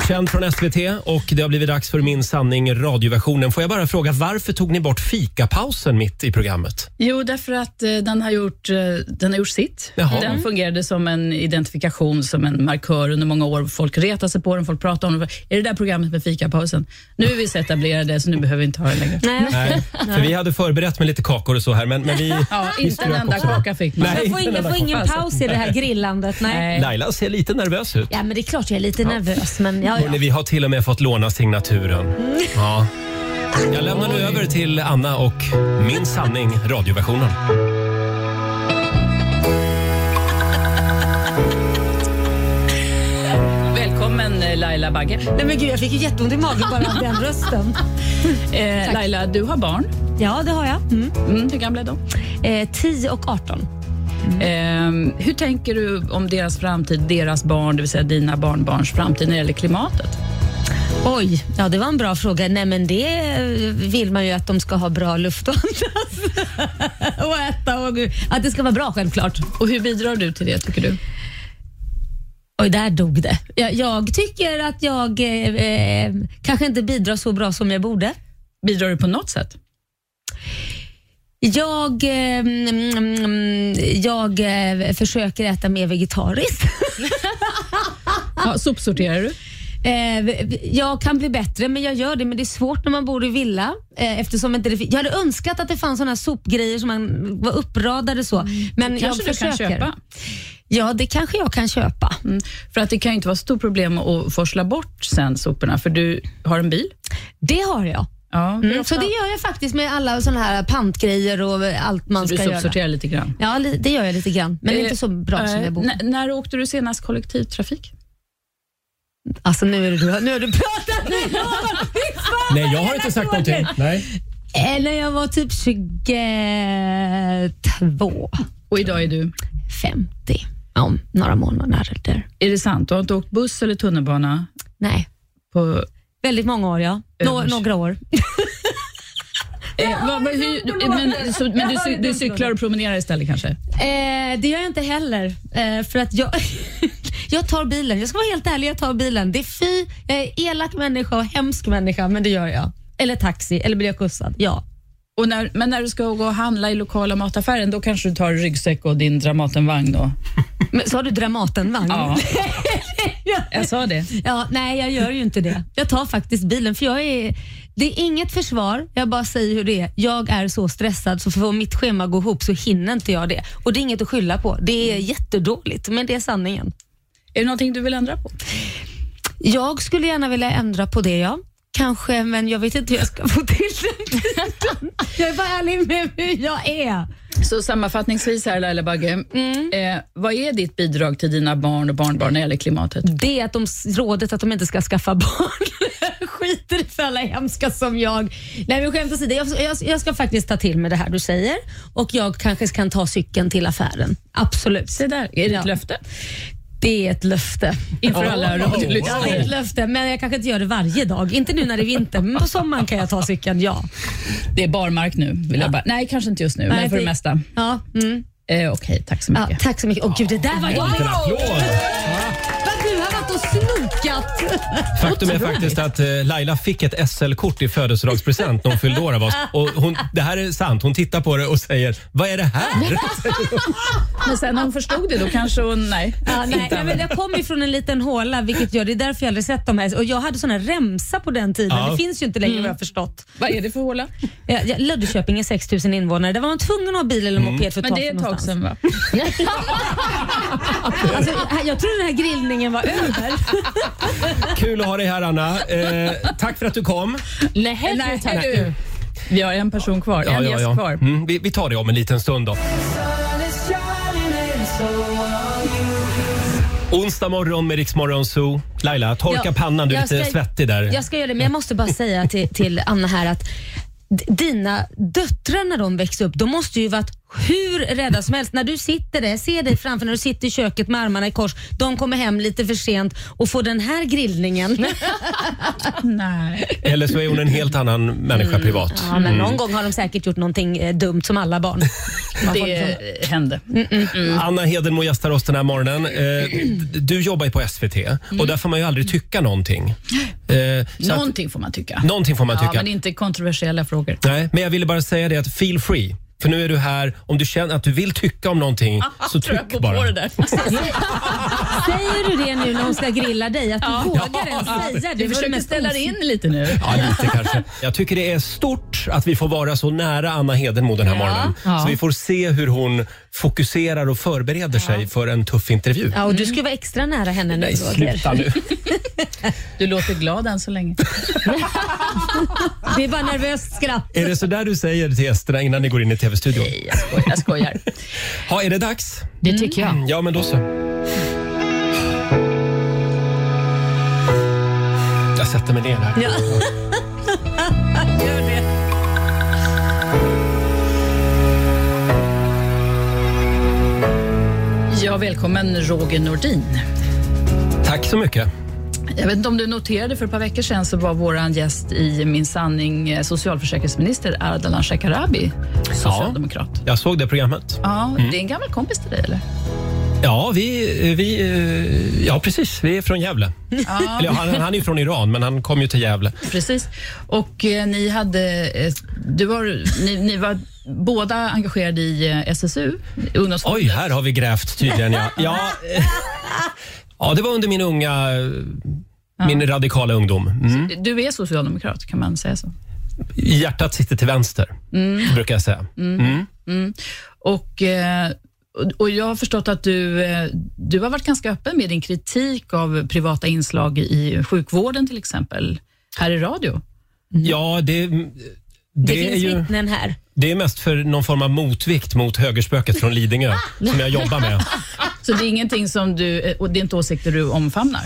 [SPEAKER 1] känd från SVT och det har blivit dags för Min sanning radioversionen. Får jag bara fråga, varför tog ni bort fikapausen mitt i programmet?
[SPEAKER 8] Jo, därför att eh, den har gjort, eh, den har gjort sitt.
[SPEAKER 1] Jaha.
[SPEAKER 8] Den fungerade som en identifikation, som en markör under många år. Folk retade sig på den, folk pratade om den. Är det där programmet med fikapausen? Nu är vi så etablerade, så nu behöver vi inte ha den längre.
[SPEAKER 2] Nej,
[SPEAKER 1] Nej, för vi hade förberett med lite kakor och så här, men, men vi...
[SPEAKER 8] Ja,
[SPEAKER 1] vi
[SPEAKER 8] inte en
[SPEAKER 1] strök
[SPEAKER 8] enda
[SPEAKER 1] också det.
[SPEAKER 8] kaka fick man.
[SPEAKER 1] Nej,
[SPEAKER 2] jag får
[SPEAKER 1] inte en
[SPEAKER 2] ingen,
[SPEAKER 1] enda
[SPEAKER 2] jag får
[SPEAKER 1] kaka.
[SPEAKER 2] ingen paus i det här grillandet. Nej.
[SPEAKER 1] Laila ser lite nervös ut.
[SPEAKER 2] Ja, men det är klart jag är lite nervös, men ja,
[SPEAKER 1] Hörrni,
[SPEAKER 2] ja.
[SPEAKER 1] vi har till och med fått låna signaturen. Ja. Jag lämnar nu över till Anna och Min sanning radioversionen.
[SPEAKER 8] Välkommen eh, Laila Bagge.
[SPEAKER 2] Nej, men gud, jag fick ju jätteont i magen bara av den rösten.
[SPEAKER 8] Eh, Laila, du har barn.
[SPEAKER 2] Ja, det har jag. Mm.
[SPEAKER 8] Mm, hur gamla är de?
[SPEAKER 2] Eh, 10 och 18.
[SPEAKER 8] Eh, hur tänker du om deras framtid, deras barn, det vill säga dina barnbarns framtid när det gäller klimatet?
[SPEAKER 2] Oj, ja det var en bra fråga. Nej men det eh, vill man ju att de ska ha bra luft att andas och äta och gud. Att det ska vara bra självklart.
[SPEAKER 8] Och hur bidrar du till det tycker du?
[SPEAKER 2] Oj, där dog det. Jag, jag tycker att jag eh, eh, kanske inte bidrar så bra som jag borde.
[SPEAKER 8] Bidrar du på något sätt?
[SPEAKER 2] Jag, eh, mm, mm, jag eh, försöker äta mer vegetariskt.
[SPEAKER 8] Ja, sopsorterar du?
[SPEAKER 2] Eh, jag kan bli bättre, men jag gör det. Men det är svårt när man bor i villa. Eh, eftersom inte det fin- jag hade önskat att det fanns såna här sopgrejer som man var uppradade så. Men jag
[SPEAKER 8] Mm, Kanske du
[SPEAKER 2] försöker.
[SPEAKER 8] kan köpa?
[SPEAKER 2] Ja, det kanske jag kan köpa.
[SPEAKER 8] Mm. För att det kan ju inte vara ett stort problem att forsla bort sen soporna, för du har en bil.
[SPEAKER 2] Det har jag.
[SPEAKER 8] Ja, hur
[SPEAKER 2] Mm. Så
[SPEAKER 8] ofta?
[SPEAKER 2] det gör jag faktiskt med alla såna här pantgrejer och allt man
[SPEAKER 8] du
[SPEAKER 2] ska göra.
[SPEAKER 8] sopsorterar lite grann.
[SPEAKER 2] Ja, li- det gör jag lite grann. Men
[SPEAKER 8] Eh,
[SPEAKER 2] inte så bra som
[SPEAKER 8] eh,
[SPEAKER 2] jag borde.
[SPEAKER 8] n- När åkte du senast kollektivtrafik?
[SPEAKER 2] Alltså nu är det du, nu har du pratat med någon. Fy fan,
[SPEAKER 1] Nej, jag
[SPEAKER 2] vad
[SPEAKER 1] har inte sagt
[SPEAKER 2] tråkigt.
[SPEAKER 1] någonting. Nej.
[SPEAKER 2] Eh, När jag var typ 22,
[SPEAKER 8] Och idag är du?
[SPEAKER 2] 50. Ja, Om några månader. Där.
[SPEAKER 8] Är det sant? Du har inte åkt buss eller tunnelbana?
[SPEAKER 2] Nej,
[SPEAKER 8] På,
[SPEAKER 2] väldigt många år ja. Nå-
[SPEAKER 8] Övers.
[SPEAKER 2] några år.
[SPEAKER 8] eh, vad, vad, hur, men så, men du, cy- du cyklar och promenerar istället kanske?
[SPEAKER 2] Eh, det gör jag inte heller. Eh, för att jag, jag tar bilen. Jag ska vara helt ärlig, jag tar bilen. Det är fy, jag är elak människa och hemsk människa, men det gör jag. Eller taxi, eller blir jag skjutsad? Ja.
[SPEAKER 8] Och när, men när du ska gå och handla i lokala mataffären, då kanske du tar ryggsäck och din Dramatenvagn
[SPEAKER 2] Mm.
[SPEAKER 8] då?
[SPEAKER 2] Men, så har du Dramatenvagn?
[SPEAKER 8] Ja. Jag sa det.
[SPEAKER 2] Ja, nej, jag gör ju inte det. Jag tar faktiskt bilen för jag är... Det är inget försvar, jag bara säger hur det är. Jag är så stressad så för att mitt schema går ihop så hinner inte jag det. Och det är inget att skylla på. Det är jättedåligt, men det är sanningen.
[SPEAKER 8] Är det någonting du vill ändra på?
[SPEAKER 2] Jag skulle gärna vilja ändra på det, ja. Kanske, men jag vet inte hur jag ska få till det. Jag är bara ärlig med hur jag är.
[SPEAKER 8] Så sammanfattningsvis här Laila Bagge,
[SPEAKER 2] Mm.
[SPEAKER 8] eh, vad är ditt bidrag till dina barn och barnbarn när det gäller klimatet?
[SPEAKER 2] Det är att de, rådet att de inte ska skaffa barn. Skiter i för alla hemska som jag. Nej men skämt åsido, jag, jag, jag ska faktiskt ta till mig det här du säger och jag kanske kan ta cykeln till affären. Absolut.
[SPEAKER 8] Se där, är det
[SPEAKER 2] Ja.
[SPEAKER 8] ett löfte?
[SPEAKER 2] Det är ett löfte.
[SPEAKER 8] Inför
[SPEAKER 2] Ja,
[SPEAKER 8] alla
[SPEAKER 2] det är ett
[SPEAKER 8] radiolyssnare.
[SPEAKER 2] löfte, men jag kanske inte gör det varje dag. Inte nu när det är vinter, men på sommaren kan jag ta cykeln, ja.
[SPEAKER 8] Det är barmark nu, vill jag bara. Nej, kanske inte just nu, men för det mesta.
[SPEAKER 2] Ja, mm.
[SPEAKER 8] Eh, Okej, tack så
[SPEAKER 2] ja,
[SPEAKER 8] mycket.
[SPEAKER 2] tack så mycket. Åh gud, det där var jag.
[SPEAKER 1] En applåd!
[SPEAKER 2] Vad du har varit och snokat.
[SPEAKER 1] Faktum är faktiskt att eh, Laila fick ett SL-kort i födelsedagspresent när hon fyllde år av oss. Och hon, det här är sant. Hon tittar på det och säger “Vad är det här?”
[SPEAKER 8] Men sen när hon förstod det, då kanske hon... Nej.
[SPEAKER 2] Ja, nej,
[SPEAKER 8] inte
[SPEAKER 2] nej, men
[SPEAKER 8] använder.
[SPEAKER 2] jag kom ifrån en liten håla, vilket gör, det är därför jag aldrig sett de här. Och jag hade såna remsa på den tiden.
[SPEAKER 1] Ja.
[SPEAKER 2] Det finns ju inte
[SPEAKER 8] Mm.
[SPEAKER 2] längre vad jag har förstått.
[SPEAKER 8] Vad är det för håla?
[SPEAKER 2] Ja, ja, Löddeköping är 6 000 invånare. Där var man tvungen att ha bil eller moped för att
[SPEAKER 8] Mm. Men
[SPEAKER 2] ta
[SPEAKER 8] det är
[SPEAKER 2] sig
[SPEAKER 8] ett tag
[SPEAKER 2] någonstans.
[SPEAKER 8] sedan va?
[SPEAKER 2] Alltså, här- jag tror den här grillningen var över.
[SPEAKER 1] Kul att ha dig här, Anna. Eh, tack för att du kom.
[SPEAKER 3] Nej,
[SPEAKER 8] Nej,
[SPEAKER 3] tack.
[SPEAKER 8] du. Vi har en person kvar, en gäst kvar.
[SPEAKER 1] Mm, vi, vi tar det om en liten stund. då. Onsdag morgon med Rix Morgon Zoo. Laila, torka
[SPEAKER 2] Ja,
[SPEAKER 1] pannan. Du är
[SPEAKER 2] jag
[SPEAKER 1] lite
[SPEAKER 2] ska-
[SPEAKER 1] svettig där.
[SPEAKER 2] Jag ska göra det, men jag måste bara säga till, till Anna här att d- dina döttrar när de växer upp, de måste ju varit hur rädda som helst. När du sitter där, ser dig framför när du sitter i köket med armarna i kors. De kommer hem lite för sent och får den här grillningen.
[SPEAKER 8] Nej.
[SPEAKER 1] Eller så är hon en helt annan människa
[SPEAKER 8] Mm.
[SPEAKER 1] privat.
[SPEAKER 2] Ja, men någon gång har de säkert gjort någonting eh, dumt som alla barn. Man får liksom-
[SPEAKER 8] Det hände.
[SPEAKER 1] Mm,
[SPEAKER 8] mm.
[SPEAKER 1] Anna Hedenmo gästar oss den här morgonen. Eh, d- du jobbar ju på SVT
[SPEAKER 8] Mm.
[SPEAKER 1] och där får man ju aldrig tycka någonting. Eh, så att,
[SPEAKER 8] Någonting får man tycka.
[SPEAKER 1] någonting får man
[SPEAKER 8] Ja,
[SPEAKER 1] tycka.
[SPEAKER 8] men inte kontroversiella frågor.
[SPEAKER 1] Nej, men jag ville bara säga det att feel free. För nu är du här, om du känner att du vill tycka om någonting så
[SPEAKER 8] Tror jag
[SPEAKER 1] tyck
[SPEAKER 8] går
[SPEAKER 1] bara.
[SPEAKER 8] på det där.
[SPEAKER 2] Säger du det nu när hon ska grilla dig? Att du vågar ens säga det?
[SPEAKER 8] Du
[SPEAKER 2] var det
[SPEAKER 8] försöker
[SPEAKER 2] mest
[SPEAKER 8] ställa dig in lite nu.
[SPEAKER 1] Ja, lite kanske. Jag tycker det är stort att vi får vara så nära Anna Hedenmo den här morgonen.
[SPEAKER 3] Ja.
[SPEAKER 1] Så vi får se hur hon fokuserar och förbereder sig för en tuff intervju.
[SPEAKER 2] Ja, och du skulle vara extra nära henne nu
[SPEAKER 1] Nej,
[SPEAKER 2] Roger.
[SPEAKER 1] sluta nu.
[SPEAKER 8] Du låter glad än så länge.
[SPEAKER 2] Det är bara nervöst skratt.
[SPEAKER 1] Är det så där du säger till gästerna innan ni går in i tv-studion?
[SPEAKER 8] Nej, jag skojar. Jag skojar.
[SPEAKER 1] Ja, är det dags?
[SPEAKER 3] Det tycker jag.
[SPEAKER 1] Ja, men då så. Jag sätter mig ner här.
[SPEAKER 2] Gör det.
[SPEAKER 8] Ja, välkommen Roger Nordin.
[SPEAKER 1] Tack så mycket.
[SPEAKER 8] Jag vet inte om du noterade, för ett par veckor sedan så var vår gäst i Min sanning eh, socialförsäkringsminister Ardalan Shekarabi, socialdemokrat. Ja.
[SPEAKER 1] Jag såg det programmet. Mm.
[SPEAKER 8] Det är en gammal kompis till dig, eller?
[SPEAKER 1] Ja, vi, vi, eh, ja precis. Vi är från Gävle. Eller, ja, han, han är ju från Iran, men han kom ju till Gävle.
[SPEAKER 8] Precis. Och eh, ni hade... Eh, du var, ni, ni var båda engagerade i eh, SSU, ungdomsförbundet.
[SPEAKER 1] Oj, här har vi grävt tydligen. Ja, ja, eh, ja det var under min unga... eh, Min radikala ungdom. Mm.
[SPEAKER 8] Du är socialdemokrat, kan man säga så?
[SPEAKER 1] Hjärtat sitter till vänster,
[SPEAKER 2] Mm.
[SPEAKER 1] brukar jag säga.
[SPEAKER 8] Och, eh, och- och jag har förstått att du, eh, du har varit ganska öppen med din kritik av privata inslag i sjukvården till exempel, här i radio.
[SPEAKER 1] Ja, det... Det,
[SPEAKER 2] Det,
[SPEAKER 1] är
[SPEAKER 2] finns
[SPEAKER 1] ju,
[SPEAKER 2] vittnen här.
[SPEAKER 1] det är mest för någon form av motvikt mot högerspöket från Lidingö som jag jobbar med.
[SPEAKER 8] Så det är ingenting som du, eh, och det är inte åsikter du omfamnar.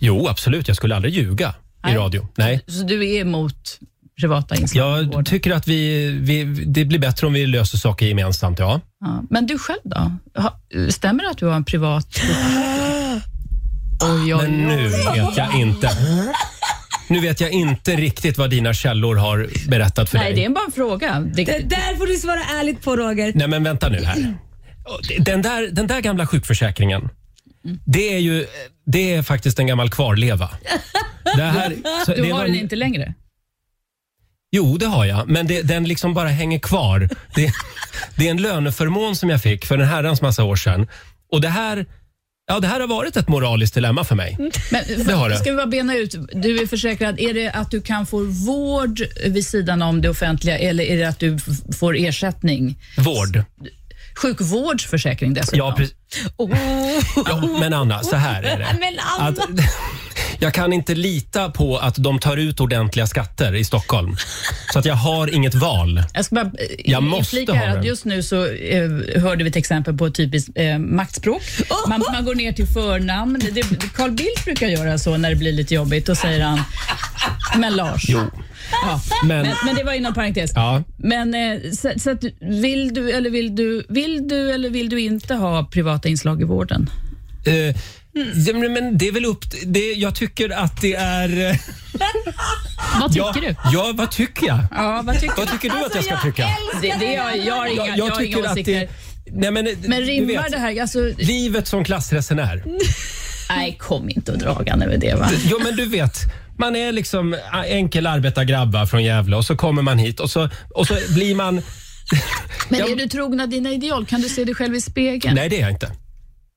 [SPEAKER 1] Jo, absolut. Jag skulle aldrig ljuga i
[SPEAKER 8] Nej.
[SPEAKER 1] radio. Nej.
[SPEAKER 8] Så du är emot privata inslag i
[SPEAKER 1] Jag
[SPEAKER 8] vården.
[SPEAKER 1] tycker att vi, vi, det blir bättre om vi löser saker gemensamt. Ja.
[SPEAKER 8] Ja. Men du själv då? Ha- Stämmer det att du har en privat... Oj, oj,
[SPEAKER 1] Ah! Men nu vet jag inte. Nu vet jag inte riktigt vad dina källor har berättat för
[SPEAKER 8] Nej,
[SPEAKER 1] dig.
[SPEAKER 8] det är bara en fråga.
[SPEAKER 2] Det
[SPEAKER 8] Det,
[SPEAKER 2] där får du svara ärligt på Roger.
[SPEAKER 1] Nej, men vänta nu här. Den där, den där gamla sjukförsäkringen, det är ju det är faktiskt en gammal kvarleva. Det här, så
[SPEAKER 8] du
[SPEAKER 1] det
[SPEAKER 8] har
[SPEAKER 1] var-
[SPEAKER 8] den inte längre?
[SPEAKER 1] Jo, det har jag, men det, den liksom bara hänger kvar. Det, det är en löneförmån som jag fick för en herrans massa år sedan. Och det här, ja, det här har varit ett moraliskt dilemma för mig.
[SPEAKER 8] Men,
[SPEAKER 1] Det har det.
[SPEAKER 8] Ska vi bara bena ut, du är försäkrad, är det att du kan få vård vid sidan om det offentliga eller är det att du f- får ersättning?
[SPEAKER 1] Vård.
[SPEAKER 8] Sjukvårdsförsäkring dessutom.
[SPEAKER 1] Ja, precis. Ja, men Anna, så här är det.
[SPEAKER 2] Men Anna.
[SPEAKER 1] Att, jag kan inte lita på att de tar ut ordentliga skatter i Stockholm. Så att jag har inget val.
[SPEAKER 8] Jag ska bara eh,
[SPEAKER 1] Jag måste
[SPEAKER 8] inflika
[SPEAKER 1] ha
[SPEAKER 8] här
[SPEAKER 1] den.
[SPEAKER 8] att just nu så eh, hörde vi ett exempel på ett typiskt eh, maktspråk. Man, man går ner till förnamn. Det, det, Carl Bildt brukar göra så när det blir lite jobbigt. Då säger han men Lars. Ja.
[SPEAKER 1] Men,
[SPEAKER 8] Men, men det var inom parentes.
[SPEAKER 1] ja.
[SPEAKER 8] Men eh, så, så att, vill, du, eller vill, du, vill du eller vill du inte ha privata inslag i vården?
[SPEAKER 1] Eh, ja, men- men det är väl upp... Det, jag tycker att det är... eh,
[SPEAKER 3] Vad tycker
[SPEAKER 1] ja,
[SPEAKER 3] du?
[SPEAKER 1] Ja, vad tycker jag?
[SPEAKER 8] Ja, vad tycker
[SPEAKER 1] Vad tycker du att jag ska tycka?
[SPEAKER 8] Det, det, jag, jag har inga,
[SPEAKER 1] Jag,
[SPEAKER 8] jag,
[SPEAKER 1] jag
[SPEAKER 8] har inga
[SPEAKER 1] tycker att
[SPEAKER 8] åsikter.
[SPEAKER 1] det... Nej, men, eh,
[SPEAKER 8] Men
[SPEAKER 1] du
[SPEAKER 8] rimmar
[SPEAKER 1] vet,
[SPEAKER 8] det här? Alltså,
[SPEAKER 1] Livet som klassresenär.
[SPEAKER 8] nej, kom inte och dragande med det. Va?
[SPEAKER 1] Jo, men du vet. Man är liksom enkel arbetargrabb va, från Gävle och så kommer man hit och så, och så blir man...
[SPEAKER 8] Men
[SPEAKER 1] Ja.
[SPEAKER 8] är du trogna dina ideal? Kan du se dig själv i spegeln?
[SPEAKER 1] Nej, det är jag inte.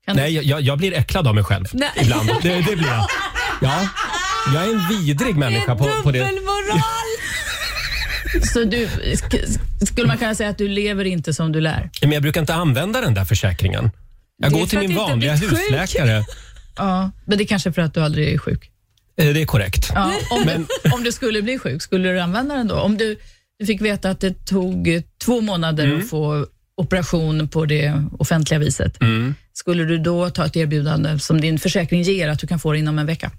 [SPEAKER 8] Kan du-
[SPEAKER 1] Nej, jag, jag blir äcklad av mig själv
[SPEAKER 2] Nej.
[SPEAKER 1] ibland. Det, det blir jag. Ja. Jag är en vidrig människa på, på det.
[SPEAKER 2] Dubbelmoral!
[SPEAKER 8] Så du, sk- skulle man kunna säga att du lever inte som du lär?
[SPEAKER 1] Men jag brukar inte använda den där försäkringen. Jag
[SPEAKER 2] Det är
[SPEAKER 1] går till
[SPEAKER 2] för att
[SPEAKER 1] min
[SPEAKER 2] du inte
[SPEAKER 1] vanliga
[SPEAKER 2] har blivit sjuk.
[SPEAKER 1] husläkare.
[SPEAKER 8] Ja. Men det är kanske är för att du aldrig är sjuk?
[SPEAKER 1] Eh, Det är korrekt.
[SPEAKER 8] Ja, om,
[SPEAKER 1] Men-
[SPEAKER 8] du, om du skulle bli sjuk, skulle du använda den då? Om du, du fick veta att det tog eh, två månader att få operation på det offentliga viset. Skulle du då ta ett erbjudande som din försäkring ger att du kan få det inom en vecka?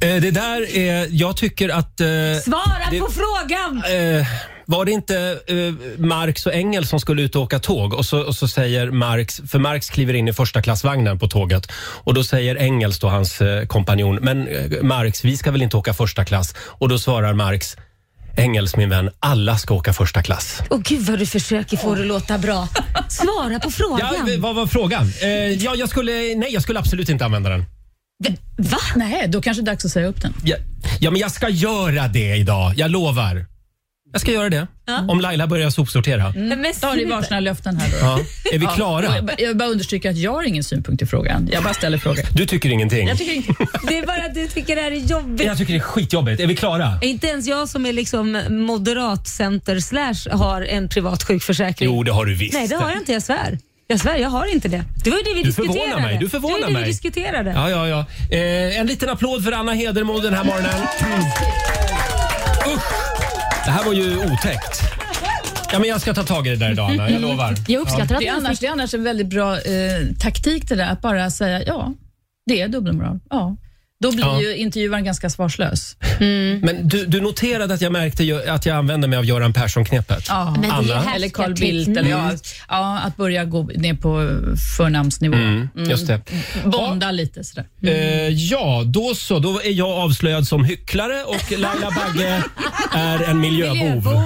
[SPEAKER 1] Eh, Det där är... Jag tycker att... eh,
[SPEAKER 2] Svara
[SPEAKER 1] Det-
[SPEAKER 2] på frågan!
[SPEAKER 1] eh, Var det inte eh, Marx och Engel som skulle ut och åka tåg och så, och så säger Marx, för Marx kliver in i första klassvagnen på tåget och då säger Engels då hans eh, kompanjon, men eh, Marx vi ska väl inte åka första klass? Och då svarar Marx, Engels min vän, alla ska åka första klass.
[SPEAKER 2] Åh gud vad du försöker få det att låta bra. Svara på
[SPEAKER 1] Ja,
[SPEAKER 2] frågan.
[SPEAKER 1] v- vad var frågan? Eh, ja, jag skulle, nej, jag skulle absolut inte använda den.
[SPEAKER 2] Va?
[SPEAKER 8] Nej, då kanske det är dags att säga upp den.
[SPEAKER 1] Ja, ja, men jag ska göra det idag. Jag lovar. Jag ska göra det. Om Laila börjar sopsortera.
[SPEAKER 2] Men
[SPEAKER 8] Då har ni
[SPEAKER 2] sluta.
[SPEAKER 8] varsina löften här. Då.
[SPEAKER 1] Ja. Är vi klara?
[SPEAKER 8] Mm. Jag bara- Jag bara understryker att jag har ingen synpunkt i frågan. Jag bara ställer frågan.
[SPEAKER 1] Du tycker ingenting.
[SPEAKER 8] Jag tycker inte...
[SPEAKER 2] Det är bara att du tycker det här är jobbigt.
[SPEAKER 1] Jag tycker det är skitjobbigt. Är vi klara?
[SPEAKER 2] Inte ens jag som är liksom moderat center slash har en privat sjukförsäkring.
[SPEAKER 1] Jo, det har du visst.
[SPEAKER 2] Nej, det har jag inte. Jag svär. Jag svär, jag har inte det. Det var ju det vi
[SPEAKER 1] Du förvånar
[SPEAKER 2] diskuterade.
[SPEAKER 1] mig, du förvånar
[SPEAKER 2] det var ju det
[SPEAKER 1] mig.
[SPEAKER 2] vi diskuterade.
[SPEAKER 1] Ja, ja, ja. Eh, en liten applåd för Anna Hedermo den här morgonen. Usch! Det här var ju otäckt. Ja, men jag ska ta tag i det där idag, Anna. Jag lovar.
[SPEAKER 3] Jag uppskattar
[SPEAKER 8] Det, är
[SPEAKER 3] att ni
[SPEAKER 8] annars, det är annars en väldigt bra eh, taktik det där, att bara säga ja, det är dubbelmoral. Ja. Då blir
[SPEAKER 1] Ja.
[SPEAKER 8] ju intervjuaren ganska svarslös.
[SPEAKER 1] Men du, du noterade att jag märkte ju att jag använde mig av Göran Persson-knepet.
[SPEAKER 8] Ja.
[SPEAKER 2] Men det är
[SPEAKER 1] Anna.
[SPEAKER 8] Eller Carl Bildt.
[SPEAKER 2] Mm.
[SPEAKER 8] Eller, ja, ja, att börja gå ner på förnamnsnivå.
[SPEAKER 1] Mm, just det.
[SPEAKER 8] Bonda lite sådär.
[SPEAKER 1] Eh, ja, då så. Då är jag avslöjad som hycklare och Laila Bagge är en miljöbov.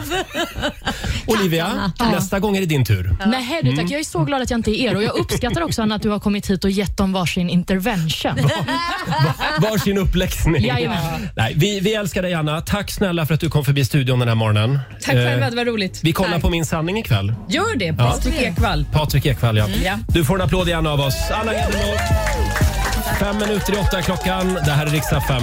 [SPEAKER 1] Olivia, nästa gång är det din tur.
[SPEAKER 3] Nej, herre,
[SPEAKER 1] Mm.
[SPEAKER 3] tack. Jag är så glad att jag inte är er. Och jag uppskattar också Anna, att du har kommit hit och gett dem varsin intervention.
[SPEAKER 1] Varsin uppläxning.
[SPEAKER 3] Jajamän.
[SPEAKER 1] Nej, vi, vi älskar dig, Anna. Tack snälla för att du kom förbi studion den här morgonen.
[SPEAKER 8] Tack
[SPEAKER 1] Eh,
[SPEAKER 8] själva, det var roligt.
[SPEAKER 1] Vi kollar
[SPEAKER 8] Tack.
[SPEAKER 1] på Min sanning ikväll.
[SPEAKER 8] Gör det, Patrik Ekwall.
[SPEAKER 1] Patrik Ekwall, ja.
[SPEAKER 8] Mm. Ja.
[SPEAKER 1] Du får en applåd igen av oss. Anna Hedenmo. Fem minuter i åtta är klockan. Det här är riksdag 5.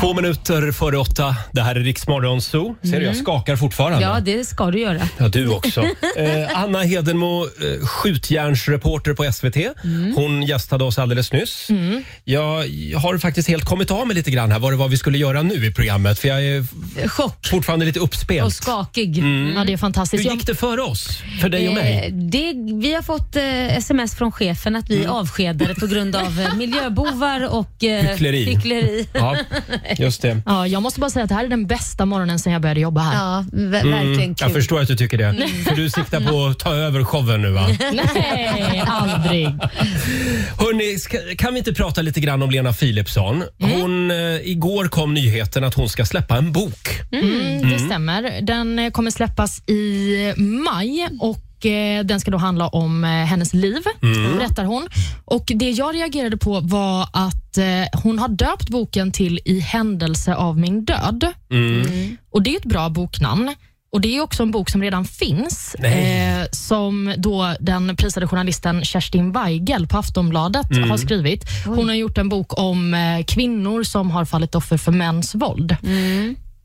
[SPEAKER 1] Två minuter före åtta. Det här är Riksmorgon Zoo. Ser du, jag
[SPEAKER 8] Mm.
[SPEAKER 1] skakar fortfarande.
[SPEAKER 2] Ja, det ska du göra.
[SPEAKER 1] Ja, du också. Eh, Anna Hedenmo, eh, skjutjärnsreporter på SVT.
[SPEAKER 2] Mm.
[SPEAKER 1] Hon gästade oss alldeles nyss. Jag har faktiskt helt kommit av mig lite grann här vad det var vi skulle göra nu i programmet. För jag är
[SPEAKER 2] Chock
[SPEAKER 1] fortfarande lite
[SPEAKER 2] och
[SPEAKER 1] uppspelt.
[SPEAKER 2] skakig.
[SPEAKER 1] Mm.
[SPEAKER 3] Ja, det är
[SPEAKER 1] Hur
[SPEAKER 3] fantastiskt. Jag,
[SPEAKER 1] gick det för oss? För dig och mig?
[SPEAKER 2] Eh, Det, vi har fått eh, sms från chefen att
[SPEAKER 1] Mm.
[SPEAKER 2] vi är avskedade på grund av eh, miljöbovar och eh,
[SPEAKER 1] Hyckleri.
[SPEAKER 2] hyckleri.
[SPEAKER 1] Ja, just det.
[SPEAKER 3] ja, jag måste bara säga att det här är den bästa morgonen sedan jag började jobba här.
[SPEAKER 2] Ja,
[SPEAKER 1] Mm.
[SPEAKER 2] ver- verkligen
[SPEAKER 1] Jag
[SPEAKER 2] kul.
[SPEAKER 1] förstår att du tycker det.
[SPEAKER 2] Mm.
[SPEAKER 1] För du siktar på att ta över showen nu va?
[SPEAKER 3] Nej, aldrig.
[SPEAKER 1] Hörrni, ska, kan vi inte prata lite grann om Lena Philipsson?
[SPEAKER 2] Mm.
[SPEAKER 1] Hon, eh, igår kom nyheten att hon ska släppa en bok.
[SPEAKER 3] Mm, det stämmer. Den eh, kommer släppas i maj och eh, den ska då handla om eh, hennes liv, berättar hon. Och Det jag reagerade på var att eh, hon har döpt boken till I händelse av min död. Och Det är ett bra boknamn. Och Det är också en bok som redan finns,
[SPEAKER 1] Nej.
[SPEAKER 3] eh, som då den prisade journalisten Kerstin Weigel på Aftonbladet har skrivit. Hon har gjort en bok om eh, kvinnor som har fallit offer för mäns våld.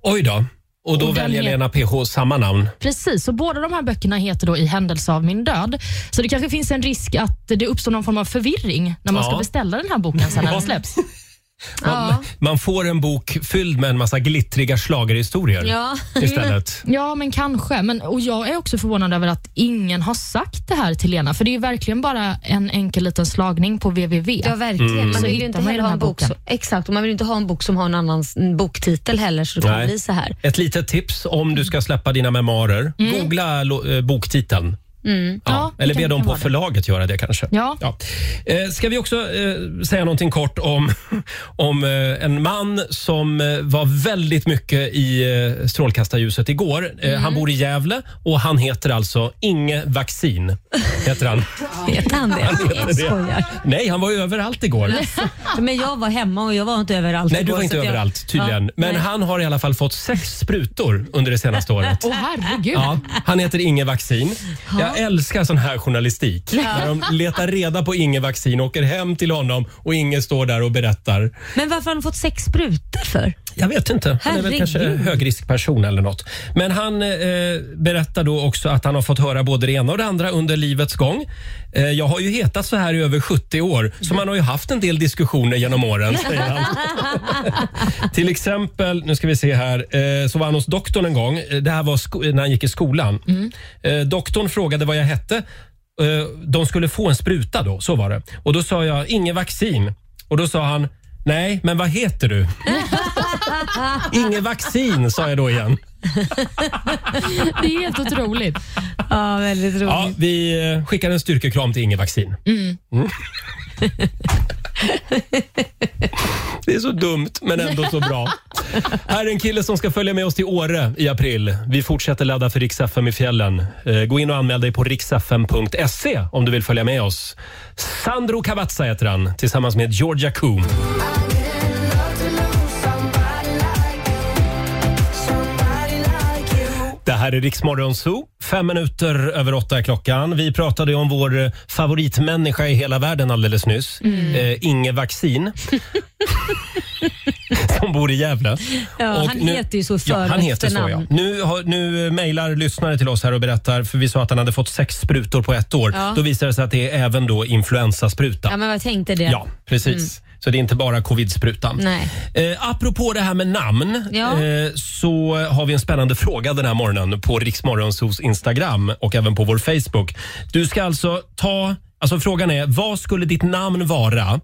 [SPEAKER 1] Oj då. Och då
[SPEAKER 3] Och den
[SPEAKER 1] väljer
[SPEAKER 3] heter-
[SPEAKER 1] Lena PH samma namn.
[SPEAKER 3] Precis, så båda de här böckerna heter då I händelse av min död. Så det kanske finns en risk att det uppstår någon form av förvirring när man
[SPEAKER 1] Ja.
[SPEAKER 3] ska beställa den här boken sen när den
[SPEAKER 1] Ja.
[SPEAKER 3] släpps.
[SPEAKER 1] Man, man får en bok fylld med en massa glittriga schlagerhistorier
[SPEAKER 2] Ja.
[SPEAKER 1] istället.
[SPEAKER 3] Ja, men kanske. Men, och Jag är också förvånad över att ingen har sagt det här till Lena, för det är ju verkligen bara en enkel liten slagning på www.
[SPEAKER 2] Ja, verkligen.
[SPEAKER 1] Mm.
[SPEAKER 2] Man
[SPEAKER 3] Så
[SPEAKER 2] vill ju
[SPEAKER 3] hittar
[SPEAKER 2] inte
[SPEAKER 3] man
[SPEAKER 2] heller
[SPEAKER 3] den
[SPEAKER 2] ha
[SPEAKER 3] här
[SPEAKER 2] en bok
[SPEAKER 3] boken.
[SPEAKER 2] som, exakt, och man vill ju inte ha en bok som har en annan s- boktitel heller så det kan
[SPEAKER 1] Nej.
[SPEAKER 2] bli så här.
[SPEAKER 1] Ett litet tips om du ska släppa dina memoarer. Googla lo- eh, boktiteln.
[SPEAKER 3] Mm. Ja,
[SPEAKER 1] Ja,
[SPEAKER 3] det
[SPEAKER 1] eller
[SPEAKER 3] kan-
[SPEAKER 1] be dem
[SPEAKER 3] kan
[SPEAKER 1] på
[SPEAKER 3] vara det.
[SPEAKER 1] förlaget göra det kanske.
[SPEAKER 3] Ja.
[SPEAKER 1] Eh, ska vi också eh, säga någonting kort om, om eh, en man som eh, var väldigt mycket i eh, strålkastarljuset igår. Eh,
[SPEAKER 3] Mm.
[SPEAKER 1] Han bor i Gävle och han heter alltså Inge Vaccin. Heter han.
[SPEAKER 2] Vet han det? Jag skojar.
[SPEAKER 1] Nej, han var ju överallt igår.
[SPEAKER 2] Men jag var hemma och jag var inte överallt.
[SPEAKER 1] Nej, du
[SPEAKER 2] igår,
[SPEAKER 1] var inte
[SPEAKER 2] så att jag-
[SPEAKER 1] överallt tydligen.
[SPEAKER 2] Ja,
[SPEAKER 1] Men
[SPEAKER 2] nej.
[SPEAKER 1] han har i alla fall fått sex sprutor under det senaste året.
[SPEAKER 3] Åh herregud.
[SPEAKER 1] Ja, han heter Inge Vaccin. Jag älskar sån här journalistik. När de letar reda på Inge Vaccin, åker hem till honom och Inge står där och berättar.
[SPEAKER 2] Men varför har han fått sex sprutor för?
[SPEAKER 1] Jag vet inte. Han är väl
[SPEAKER 2] Herregud.
[SPEAKER 1] kanske en högriskperson eller något. Men han eh, berättar då också att han har fått höra både det ena och det andra under livets gång. Eh, jag har ju hetat så här i över 70 år, så man har ju haft en del diskussioner genom åren, säger han. Till exempel, nu ska vi se här, eh, så var han hos doktorn en gång. Eh, Det här var sko- när han gick i skolan. Eh, doktorn frågade vad jag hette. Eh, de skulle få en spruta då, så var det. Och då sa jag, inget vaccin. Och då sa han, Nej, men vad heter du? Inget vaccin, sa jag då igen.
[SPEAKER 3] Det är helt otroligt.
[SPEAKER 2] Ja, väldigt roligt.
[SPEAKER 1] Ja, vi eh, skickar en styrkekram till Inge Vaccin. Mm. Det är så dumt, men ändå så bra. Här är en kille som ska följa med oss till Åre i april. Vi fortsätter ladda för Rix FM i fjällen. Eh, Gå in och anmäl dig på riksfm.se om du vill följa med oss. Sandro Cavazza heter han, tillsammans med Georgia Coom. Det här är Riksmorgon Zoo. Fem minuter över åtta är klockan. Vi pratade ju om vår eh, favoritmänniska i hela världen alldeles nyss.
[SPEAKER 2] Mm.
[SPEAKER 1] Eh, Inge Vaccin. Som bor i Gävle.
[SPEAKER 2] Ja,
[SPEAKER 1] Och
[SPEAKER 2] han heter ju så för
[SPEAKER 1] ja, han
[SPEAKER 2] och
[SPEAKER 1] heter så, ja.
[SPEAKER 2] efternamn.
[SPEAKER 1] Nu, har- nu eh, mejlar lyssnare till oss här och berättar, för vi sa att han hade fått sex sprutor på ett år.
[SPEAKER 2] Ja.
[SPEAKER 1] Då visar det sig att det är även då influensaspruta.
[SPEAKER 2] Ja, men jag tänkte det.
[SPEAKER 1] Ja, precis. Så det är inte bara covid-sprutan.
[SPEAKER 2] Nej.
[SPEAKER 1] Eh, apropå det här med namn
[SPEAKER 2] Ja.
[SPEAKER 1] eh, så har vi en spännande fråga den här morgonen på Riksmorgonsos Instagram och även på vår Facebook. Du ska alltså ta, alltså frågan är vad skulle ditt namn vara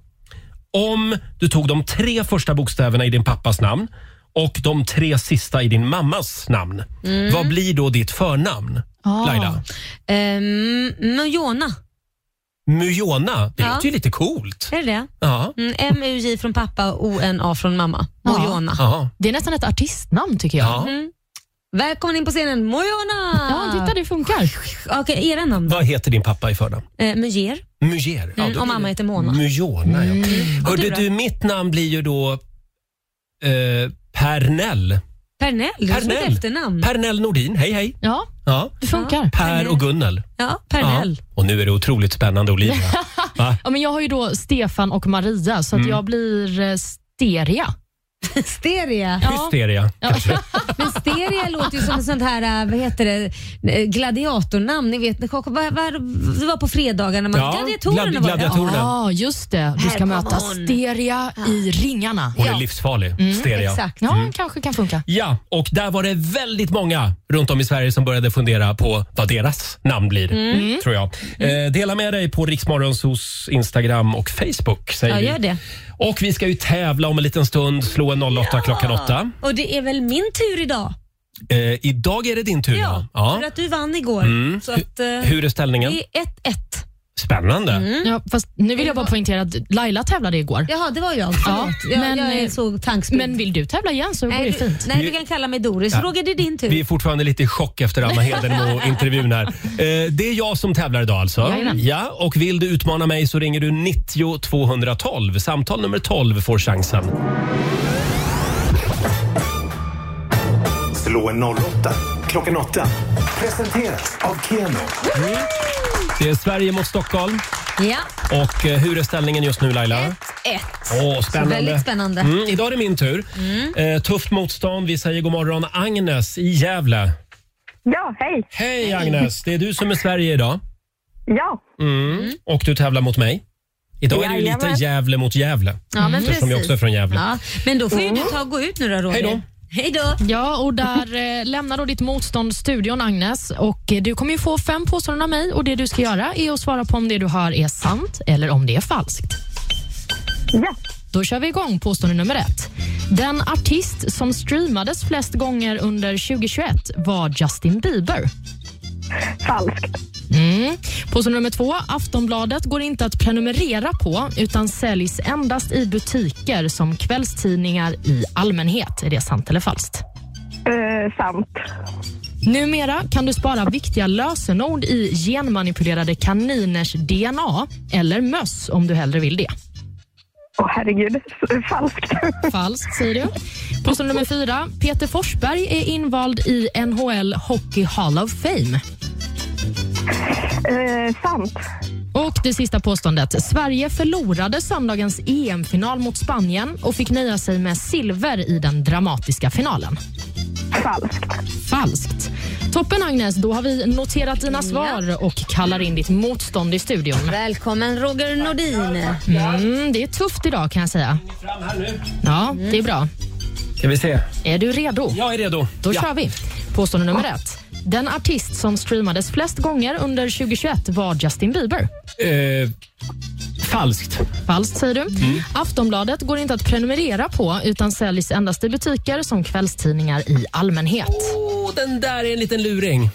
[SPEAKER 1] om du tog de tre första bokstäverna i din pappas namn och de tre sista i din mammas namn.
[SPEAKER 2] Mm.
[SPEAKER 1] Vad blir då ditt förnamn?
[SPEAKER 2] Ah.
[SPEAKER 1] Laila?
[SPEAKER 2] Ehm, men Jona,
[SPEAKER 1] Mujona, det
[SPEAKER 2] Ja.
[SPEAKER 1] låter ju lite coolt.
[SPEAKER 2] är det det?
[SPEAKER 1] Ja.
[SPEAKER 2] Mm, M-U-J från pappa och O-N-A från mamma. Mojona. Mm.
[SPEAKER 1] Ja.
[SPEAKER 3] Det är nästan ett artistnamn tycker jag.
[SPEAKER 1] ja.
[SPEAKER 2] Välkommen in på scenen, Mojona!
[SPEAKER 3] Ja, titta det funkar.
[SPEAKER 2] Okej, era namn då?
[SPEAKER 1] Vad heter din pappa i förnamn?
[SPEAKER 2] Eh, Mujer.
[SPEAKER 1] Mujer. Ja,
[SPEAKER 2] Mm,
[SPEAKER 1] då blir
[SPEAKER 2] och mamma
[SPEAKER 1] det-
[SPEAKER 2] heter Mona.
[SPEAKER 1] Mujona, ja. Hörde
[SPEAKER 2] du
[SPEAKER 1] du,
[SPEAKER 2] då?
[SPEAKER 1] mitt namn blir ju då eh, Pernell.
[SPEAKER 2] Pernell, det är som ett
[SPEAKER 1] Pernell.
[SPEAKER 2] efternamn.
[SPEAKER 1] Pernell Nordin, hej hej.
[SPEAKER 3] Ja,
[SPEAKER 1] Ja.
[SPEAKER 3] det funkar.
[SPEAKER 1] Per och Gunnel.
[SPEAKER 2] ja,
[SPEAKER 1] Ja.
[SPEAKER 2] Pernell.
[SPEAKER 1] Och nu är det otroligt spännande Olivia.
[SPEAKER 3] Ja, men jag har ju då Stefan och Maria,
[SPEAKER 1] Mm.
[SPEAKER 3] så att jag blir eh, Steria.
[SPEAKER 2] Steria.
[SPEAKER 1] Hysteria.
[SPEAKER 2] Men Steria låter ju som ett sånt här, eh, vad heter det, eh, gladiatornamn. Ni vet, när kock- vad- vad- det var på fredagar när man...
[SPEAKER 1] Ja,
[SPEAKER 2] gladiatorerna
[SPEAKER 1] gladi-
[SPEAKER 2] var det.
[SPEAKER 1] gladiatorerna.
[SPEAKER 2] Ja,
[SPEAKER 3] Ja, just det. Du
[SPEAKER 2] Här
[SPEAKER 3] ska
[SPEAKER 2] kommer
[SPEAKER 3] möta
[SPEAKER 2] hon.
[SPEAKER 3] Steria i ringarna.
[SPEAKER 1] Hon är livsfarlig. Hysteria.
[SPEAKER 2] Mm, Exakt.
[SPEAKER 3] Ja, kanske kan funka.
[SPEAKER 1] Ja, och där var det väldigt många runt om i Sverige som började fundera på vad deras namn blir,
[SPEAKER 2] Mm.
[SPEAKER 1] tror jag. Eh, dela med dig på Riksmorgonsos Instagram och Facebook. Säger
[SPEAKER 2] Ja,
[SPEAKER 1] vi.
[SPEAKER 2] gör det.
[SPEAKER 1] Och vi ska ju tävla om en liten stund, slå en 08 klockan 8.
[SPEAKER 2] Och det är väl min tur idag?
[SPEAKER 1] Eh, idag är det din tur.
[SPEAKER 2] Ja,
[SPEAKER 1] Ja. Ja.
[SPEAKER 2] för att du vann igår. Så att, eh,
[SPEAKER 1] Hur är ställningen?
[SPEAKER 2] det är 1-1.
[SPEAKER 1] Spännande.
[SPEAKER 2] Mm.
[SPEAKER 3] Ja, fast nu vill jag bara poängtera att Laila tävlade igår.
[SPEAKER 2] Jaha, det var jag.
[SPEAKER 3] Ja,
[SPEAKER 2] Ja, jag,
[SPEAKER 3] men,
[SPEAKER 2] jag
[SPEAKER 3] eh,
[SPEAKER 2] är så tankspridd.
[SPEAKER 3] Men vill du tävla igen så går
[SPEAKER 2] nej,
[SPEAKER 3] det
[SPEAKER 2] du,
[SPEAKER 3] fint.
[SPEAKER 2] nej, du kan kalla mig Doris. Roger, det är din tur.
[SPEAKER 1] Vi är fortfarande lite i chock efter Anna Hedenmo-intervjun här. Eh, det är jag som tävlar idag alltså.
[SPEAKER 3] Jajamän.
[SPEAKER 1] Ja, och vill du utmana mig så ringer du 90 212. Samtal nummer 12 får chansen.
[SPEAKER 4] Slå en 08 klockan åtta. Presenteras av Keno.
[SPEAKER 1] Det är Sverige mot Stockholm.
[SPEAKER 2] Ja,
[SPEAKER 1] Och eh, hur är ställningen just nu Laila?
[SPEAKER 2] 1.
[SPEAKER 1] Åh, spännande.
[SPEAKER 2] Väldigt spännande. Mm.
[SPEAKER 1] Mm, idag är det min tur. Eh, tufft motstånd. Vi säger god morgon Agnes i Gävle.
[SPEAKER 5] Ja, hej.
[SPEAKER 1] Hej Agnes, det är du som är Sverige idag. Mm.
[SPEAKER 5] Ja,
[SPEAKER 2] Mm.
[SPEAKER 1] Och du tävlar mot mig. Idag är det ju lite
[SPEAKER 5] Jajamän.
[SPEAKER 1] Gävle mot Gävle.
[SPEAKER 2] Ja, men
[SPEAKER 1] Som jag också är från Gävle.
[SPEAKER 2] Ja, men då får ju du ta och gå ut nu då, Roger.
[SPEAKER 1] Hej då.
[SPEAKER 2] Hej då.
[SPEAKER 3] Ja, och där eh, lämnar då ditt motstånd studion, Agnes. Och eh, du kommer ju få fem påståenden av mig och det du ska göra är att svara på om det du hör är sant eller om det är falskt.
[SPEAKER 5] ja.
[SPEAKER 3] Då kör vi igång påstående nummer ett. Den artist som streamades flest gånger under 2021 var Justin Bieber.
[SPEAKER 5] Falskt.
[SPEAKER 3] Mm. Påstående nummer två. Aftonbladet går inte att prenumerera på utan säljs endast i butiker som kvällstidningar i allmänhet. Är det sant eller falskt?
[SPEAKER 5] Eh, sant.
[SPEAKER 3] Numera kan du spara viktiga lösenord i genmanipulerade kaniners DNA eller möss om du hellre vill det.
[SPEAKER 5] Åh, herregud. S- Falskt.
[SPEAKER 3] Falskt, säger du. Påstående nummer fyra. Peter Forsberg är invald i NHL Hockey Hall of Fame.
[SPEAKER 5] Eh, sant.
[SPEAKER 3] Och det sista påståendet. Sverige förlorade söndagens EM-final mot Spanien och fick nöja sig med silver i den dramatiska finalen.
[SPEAKER 5] Falskt.
[SPEAKER 3] Falskt. Toppen, Agnes. Då har vi noterat dina svar och kallar in ditt motstånd i studion.
[SPEAKER 2] Välkommen Roger Nordin.
[SPEAKER 3] Mm, det är tufft idag kan jag säga. Ja, det är bra.
[SPEAKER 1] Ska vi se.
[SPEAKER 3] Är du redo?
[SPEAKER 1] Jag är redo.
[SPEAKER 3] Då
[SPEAKER 1] ja.
[SPEAKER 3] kör vi. Påstående nummer ett. Den artist som streamades flest gånger under 2021 var Justin Bieber.
[SPEAKER 1] Eh, Falskt.
[SPEAKER 3] Falskt säger du.
[SPEAKER 1] Mm.
[SPEAKER 3] Aftonbladet går inte att prenumerera på utan säljs endast i butiker som kvällstidningar i allmänhet.
[SPEAKER 1] Åh, den där är en liten luring.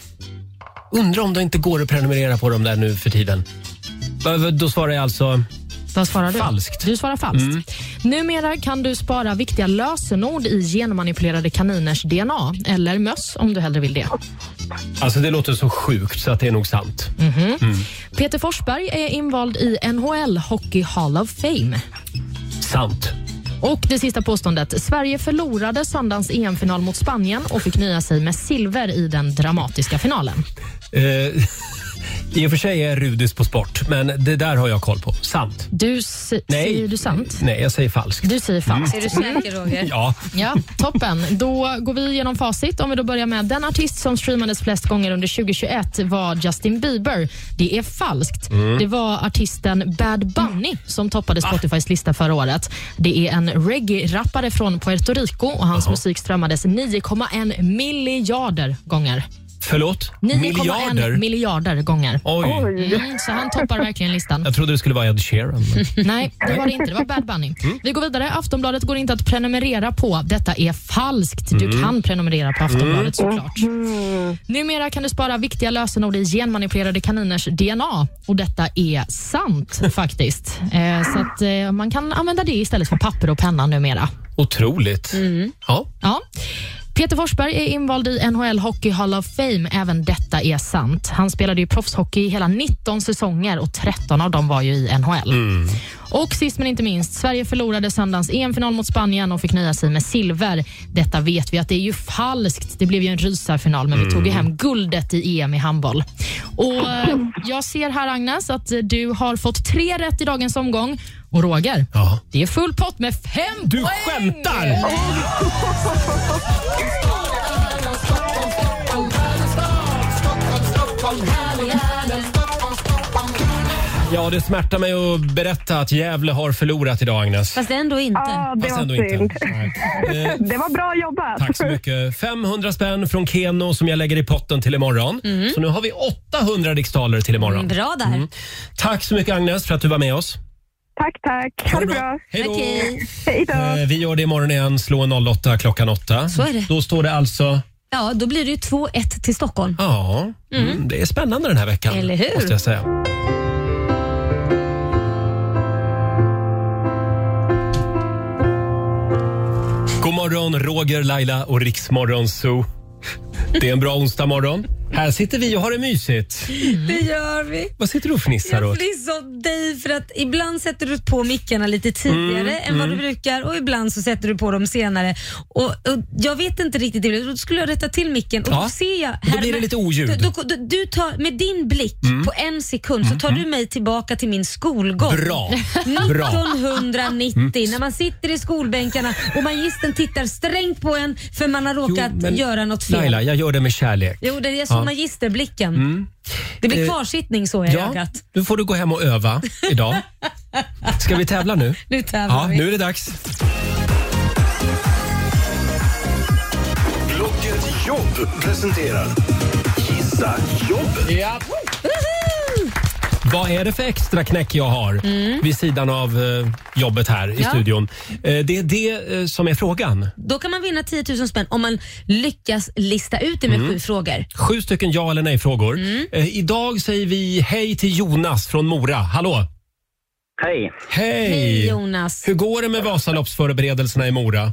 [SPEAKER 1] Undrar om det inte går att prenumerera på dem där nu för tiden. Va- va- Då svarar jag alltså...
[SPEAKER 3] Vad svarar du?
[SPEAKER 1] Falskt. Mm.
[SPEAKER 3] Du svarar falskt. Numera kan du spara viktiga lösenord i genmanipulerade kaniners DNA eller möss om du hellre vill det.
[SPEAKER 1] Alltså det låter så sjukt så att det är nog sant.
[SPEAKER 2] Mm.
[SPEAKER 3] Peter Forsberg är invald i NHL Hockey Hall of Fame.
[SPEAKER 1] Sant.
[SPEAKER 3] Och det sista påståendet. Sverige förlorade söndagens EM-final mot Spanien och fick nöja sig med silver i den dramatiska finalen.
[SPEAKER 1] Eh, I och för sig är jag rudis på sport, men det där har jag koll på. Sant.
[SPEAKER 3] Du, s-
[SPEAKER 1] Nej.
[SPEAKER 3] Säger du sant?
[SPEAKER 1] Nej, jag säger falskt.
[SPEAKER 3] Du säger falskt.
[SPEAKER 2] Är du säker Roger?
[SPEAKER 1] Ja.
[SPEAKER 3] Ja, toppen. Då går vi igenom facit. Om vi då börjar med den artist som streamades flest gånger under 2021 var Justin Bieber. Det är falskt. Det var artisten Bad Bunny som toppade Spotifys lista förra året. Det är en reggae-rappare från Puerto Rico och hans musik strömmades 9,1 miljarder gånger.
[SPEAKER 1] Förlåt?
[SPEAKER 3] 9,1
[SPEAKER 1] Miljarder?
[SPEAKER 3] miljarder gånger.
[SPEAKER 1] Oj.
[SPEAKER 3] Mm, så han toppar verkligen listan.
[SPEAKER 1] Jag trodde det skulle vara Ed Sheeran. men-
[SPEAKER 3] Nej, det var det inte. Det var Bad Bunny. Vi går vidare. Aftonbladet går inte att prenumerera på. Detta är falskt. Du kan prenumerera på Aftonbladet såklart. Numera kan du spara viktiga lösenord i genmanipulerade kaniners DNA. Och detta är sant faktiskt. Eh, så att, eh, man kan använda det istället för papper och penna numera.
[SPEAKER 1] Otroligt.
[SPEAKER 3] Mm.
[SPEAKER 1] Ja.
[SPEAKER 3] Ja. Peter Forsberg är invald i NHL Hockey Hall of Fame. Även detta är sant. Han spelade ju proffshockey i hela 19 säsonger och 13 av dem var ju i NHL. Och sist men inte minst, Sverige förlorade söndagens EM-final mot Spanien och fick nöja sig med silver. Detta vet vi att det är ju falskt. Det blev ju en rysarfinal, men vi tog ju hem guldet i EM i handboll. Och eh, Jag ser här, Agnes, att eh, du har fått tre rätt i dagens omgång. Och Roger,
[SPEAKER 1] Ja.
[SPEAKER 3] det är full pott med fem
[SPEAKER 1] Du
[SPEAKER 3] poäng!
[SPEAKER 1] skämtar! Ja, det smärtar mig att berätta att Gävle har förlorat idag, Agnes.
[SPEAKER 2] Fast ändå inte.
[SPEAKER 5] Ja, det
[SPEAKER 1] Fast ändå
[SPEAKER 5] var synd.
[SPEAKER 1] Nej. Eh,
[SPEAKER 5] Det var bra jobbat.
[SPEAKER 1] Tack så mycket. 500 spänn från Keno som jag lägger i potten till imorgon.
[SPEAKER 5] Mm.
[SPEAKER 1] Så nu har vi 800 riksdaler till imorgon.
[SPEAKER 2] Bra där.
[SPEAKER 1] Mm. Tack så mycket Agnes för att du var med oss.
[SPEAKER 5] Tack, tack. Ha det bra.
[SPEAKER 1] Hej då.
[SPEAKER 2] Okej.
[SPEAKER 5] Hej då.
[SPEAKER 1] Eh, Vi gör det imorgon igen, slå en 08 klockan 8.
[SPEAKER 2] Så är det.
[SPEAKER 1] Då står det alltså,
[SPEAKER 2] Ja, då blir det ju 2-1 till Stockholm.
[SPEAKER 1] ja, mm. det är spännande den här veckan.
[SPEAKER 2] Eller hur?
[SPEAKER 1] Måste jag säga. God morgon, Roger, Laila och Riksmorgon Zoo. Det är en bra onsdag morgon. Här sitter vi och har det mysigt.
[SPEAKER 2] Det gör vi.
[SPEAKER 1] Vad sitter du och fnissar
[SPEAKER 2] Jag
[SPEAKER 1] åt?
[SPEAKER 2] fnissar åt dig för att ibland sätter du på mickarna lite tidigare
[SPEAKER 1] Mm,
[SPEAKER 2] än vad du brukar och ibland så sätter du på dem senare. Och, och jag vet inte riktigt, det. då skulle jag rätta till micken och
[SPEAKER 1] Ja.
[SPEAKER 2] då ser jag...
[SPEAKER 1] Då
[SPEAKER 2] här-
[SPEAKER 1] blir det lite oljud. Mm.
[SPEAKER 2] Då, då, då, du tar, med din blick på en sekund så tar du mig tillbaka till min skolgång.
[SPEAKER 1] Bra. mm. Bra. Mm.
[SPEAKER 2] 1990 när man sitter i skolbänkarna och magistern tittar strängt på en för man har råkat
[SPEAKER 1] men
[SPEAKER 2] göra något fel.
[SPEAKER 1] Laila, jag gör det med kärlek.
[SPEAKER 2] Jo, det är som magisterblicken. Det blir
[SPEAKER 1] Eh,
[SPEAKER 2] kvarsittning så i
[SPEAKER 1] Ja,
[SPEAKER 2] ögat.
[SPEAKER 1] nu får du gå hem och öva idag. Ska vi tävla nu?
[SPEAKER 2] Nu tävlar
[SPEAKER 1] Ja,
[SPEAKER 2] vi.
[SPEAKER 1] nu är det dags.
[SPEAKER 4] Blocket Jobb presenterar Gissa jobbet.
[SPEAKER 1] Vad är det för extra knäck jag har vid sidan av eh, jobbet här i studion? Eh, det är det eh, som är frågan.
[SPEAKER 2] Då kan man vinna 10 000 spänn om man lyckas lista ut det med sju frågor.
[SPEAKER 1] Sju stycken ja eller nej-frågor. Eh, idag säger vi hej till Jonas från Mora. Hallå!
[SPEAKER 9] Hej.
[SPEAKER 1] Hej!
[SPEAKER 2] Hej Jonas.
[SPEAKER 1] Hur går det med Vasaloppsförberedelserna i Mora?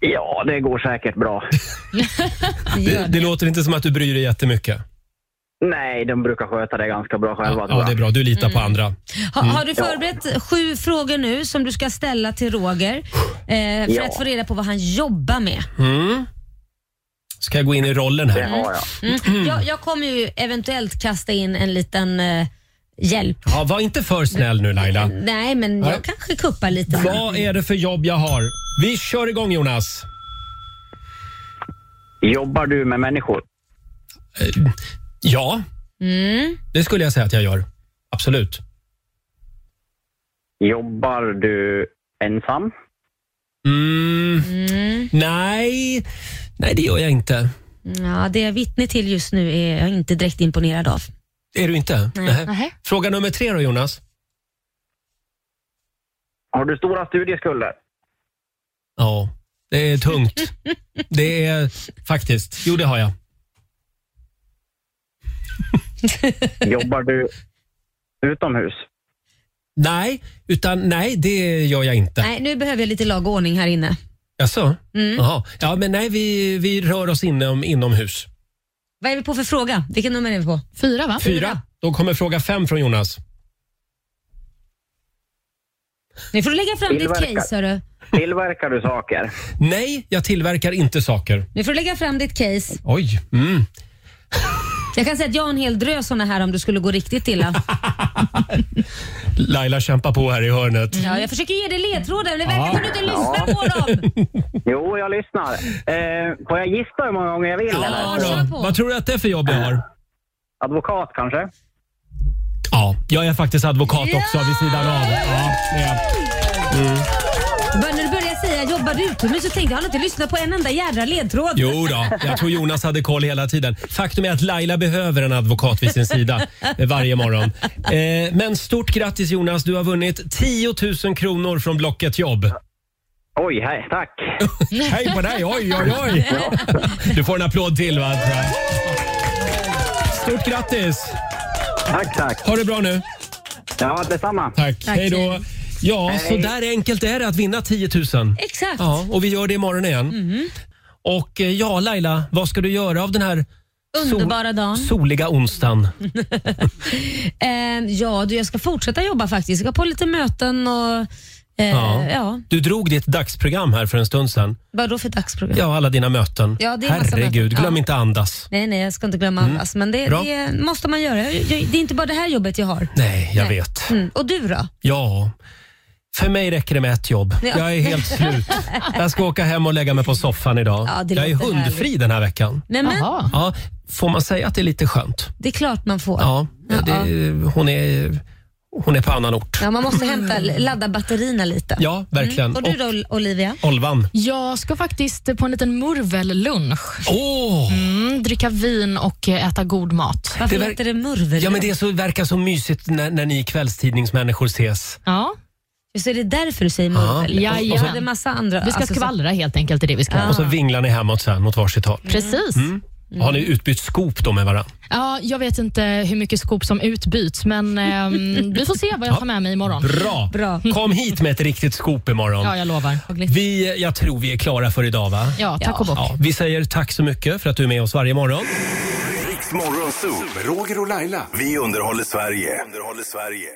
[SPEAKER 9] Ja, det går säkert bra.
[SPEAKER 1] Det, det låter inte som att du bryr dig jättemycket.
[SPEAKER 9] Nej, de brukar sköta det ganska bra själva. tror
[SPEAKER 1] Ja,
[SPEAKER 9] jag.
[SPEAKER 1] det är bra. Du litar på andra.
[SPEAKER 2] Ha, har du förberett sju frågor nu som du ska ställa till Roger eh, för
[SPEAKER 9] Ja.
[SPEAKER 2] att få reda på vad han jobbar med?
[SPEAKER 1] Mm. Ska jag gå in i rollen
[SPEAKER 9] Det
[SPEAKER 1] här?
[SPEAKER 9] har jag.
[SPEAKER 2] Mm. Jag, jag kommer ju eventuellt kasta in en liten eh, hjälp.
[SPEAKER 1] Ja, var inte för snäll nu Laila.
[SPEAKER 2] Nej, men jag
[SPEAKER 1] Nej.
[SPEAKER 2] kanske kuppar lite.
[SPEAKER 1] Vad är det för jobb jag har? Vi kör igång Jonas.
[SPEAKER 9] Jobbar du med människor?
[SPEAKER 1] Ja,
[SPEAKER 2] Mm.
[SPEAKER 1] det skulle jag säga att jag gör. Absolut.
[SPEAKER 9] Jobbar du ensam?
[SPEAKER 1] Mm,
[SPEAKER 2] Mm.
[SPEAKER 1] nej. nej, det gör jag inte.
[SPEAKER 2] Ja, det jag är vittne till just nu är jag inte direkt imponerad av.
[SPEAKER 1] Är du inte? Nej.
[SPEAKER 3] Nähä.
[SPEAKER 1] Fråga nummer tre då Jonas.
[SPEAKER 9] Har du stora studieskulder?
[SPEAKER 1] Ja, det är tungt. Det är faktiskt. Jo, det har jag.
[SPEAKER 9] Jobbar du utomhus?
[SPEAKER 1] Nej, utan nej, det gör jag inte.
[SPEAKER 2] Nej, nu behöver jag lite lag och ordning här inne.
[SPEAKER 1] Jaså? Jaha. Ja, men nej, vi, vi rör oss inom, inomhus.
[SPEAKER 2] Vad är vi på för fråga? Vilket nummer är vi på?
[SPEAKER 3] Fyra, va?
[SPEAKER 1] Fyra. Då kommer fråga fem från Jonas.
[SPEAKER 2] Nu får du lägga fram ditt
[SPEAKER 9] Tillverkar.
[SPEAKER 2] case, hörru.
[SPEAKER 9] Tillverkar du saker?
[SPEAKER 1] Nej, jag tillverkar inte saker.
[SPEAKER 2] Nu får du lägga fram ditt case.
[SPEAKER 1] Oj. Mm.
[SPEAKER 2] Jag kan säga att jag har en hel drös såna här om du skulle gå riktigt illa.
[SPEAKER 1] Laila kämpar på här i hörnet.
[SPEAKER 2] Ja, jag försöker ge dig ledtrådar, men det verkar som du inte lyssnar på dem.
[SPEAKER 9] Jo, jag lyssnar. Eh, får jag gissa hur många gånger jag vill?
[SPEAKER 2] Ja,
[SPEAKER 9] Eller?
[SPEAKER 2] kör på.
[SPEAKER 1] Vad tror du att det är för jobb jag har?
[SPEAKER 9] Advokat kanske?
[SPEAKER 1] Ja, jag är faktiskt advokat också vid sidan av. Ja, det är.
[SPEAKER 2] Bara när du började säga jobbar du utomhus så tänkte jag, han har inte lyssnat på en enda jädra ledtråd.
[SPEAKER 1] Jo då, jag tror Jonas hade koll hela tiden. Faktum är att Laila behöver en advokat vid sin sida eh, varje morgon. Eh, men stort grattis Jonas, du har vunnit 10 000 kronor från Blocket Jobb.
[SPEAKER 9] Oj, hej, tack.
[SPEAKER 1] Hej på dig, oj oj oj! Du får en applåd till va? tror jag. Stort grattis!
[SPEAKER 9] Tack, tack.
[SPEAKER 1] Ha det bra nu.
[SPEAKER 9] Ja, detsamma.
[SPEAKER 1] Tack,
[SPEAKER 2] Tack.
[SPEAKER 1] hej då. Ja, så där enkelt är det att vinna 10 000.
[SPEAKER 2] Exakt.
[SPEAKER 1] Ja, och vi gör det imorgon igen. Och eh, ja, Laila, vad ska du göra av den här
[SPEAKER 2] Underbara dagen.
[SPEAKER 1] soliga onsdagen?
[SPEAKER 2] Eh, ja, du, jag ska fortsätta jobba faktiskt. Jag ska på lite möten och eh,
[SPEAKER 1] Ja.
[SPEAKER 2] ja.
[SPEAKER 1] Du drog ditt dagsprogram här för en stund sedan.
[SPEAKER 2] Vadå för dagsprogram?
[SPEAKER 1] Ja, alla dina möten.
[SPEAKER 2] Ja, det är en massa
[SPEAKER 1] Herregud,
[SPEAKER 2] möten.
[SPEAKER 1] glöm
[SPEAKER 2] Ja.
[SPEAKER 1] inte andas.
[SPEAKER 2] Nej, nej, jag ska inte glömma andas. Men det,
[SPEAKER 1] Mm. Bra.
[SPEAKER 2] det måste man göra. Jag, jag, det är inte bara det här jobbet jag har.
[SPEAKER 1] Nej, jag vet.
[SPEAKER 2] Mm. Och du då?
[SPEAKER 1] Ja. För mig räcker det med ett jobb.
[SPEAKER 2] Ja.
[SPEAKER 1] Jag är helt slut. Jag ska åka hem och lägga mig på soffan idag.
[SPEAKER 2] Ja, det
[SPEAKER 1] jag är
[SPEAKER 2] låter
[SPEAKER 1] hundfri
[SPEAKER 2] härligt.
[SPEAKER 1] den här veckan.
[SPEAKER 2] Nej, men
[SPEAKER 3] Jaha.
[SPEAKER 1] Ja, får man säga att det är lite skönt?
[SPEAKER 2] det är klart man får. Ja.
[SPEAKER 1] Ja, det, Hon, är, hon är på annan ort. Ja,
[SPEAKER 2] man måste hämta, ladda batterierna lite.
[SPEAKER 1] verkligen.
[SPEAKER 2] Mm. Och du då Ol- Olivia?
[SPEAKER 1] Och Olvan.
[SPEAKER 3] Jag ska faktiskt på en liten murvellunch.
[SPEAKER 1] Åh!
[SPEAKER 3] Mm, dricka vin och eh, äta god mat.
[SPEAKER 2] Varför
[SPEAKER 1] Det verk-
[SPEAKER 2] heter det murvel?
[SPEAKER 1] Ja, men det så, verkar så mysigt när, när ni kvällstidningsmänniskor ses.
[SPEAKER 3] Ja,
[SPEAKER 2] Så är det därför du säger murvel?
[SPEAKER 3] Ja.
[SPEAKER 2] Och- Och så är det massa andra.
[SPEAKER 3] vi ska
[SPEAKER 2] alltså, så-
[SPEAKER 3] skvallra helt enkelt. Är det vi ska. göra.
[SPEAKER 1] Och så vinglar ni hemåt sen åt varsitt håll.
[SPEAKER 3] Precis. Mm.
[SPEAKER 1] Har ni utbytt skop då med varandra?
[SPEAKER 3] Ja, jag vet inte hur mycket skop som utbyts, men ehm, vi får se vad jag tar med mig imorgon.
[SPEAKER 1] Bra!
[SPEAKER 2] Bra.
[SPEAKER 1] Kom hit med ett riktigt skop imorgon.
[SPEAKER 3] Ja, jag lovar.
[SPEAKER 1] Vi, jag tror vi är klara för idag va?
[SPEAKER 3] Ja, tack och bock.
[SPEAKER 1] Ja, vi säger tack så mycket för att du är med oss varje morgon.
[SPEAKER 6] Riks Morgonzoo med Roger och Laila. Vi underhåller Sverige. Underhåller Sverige.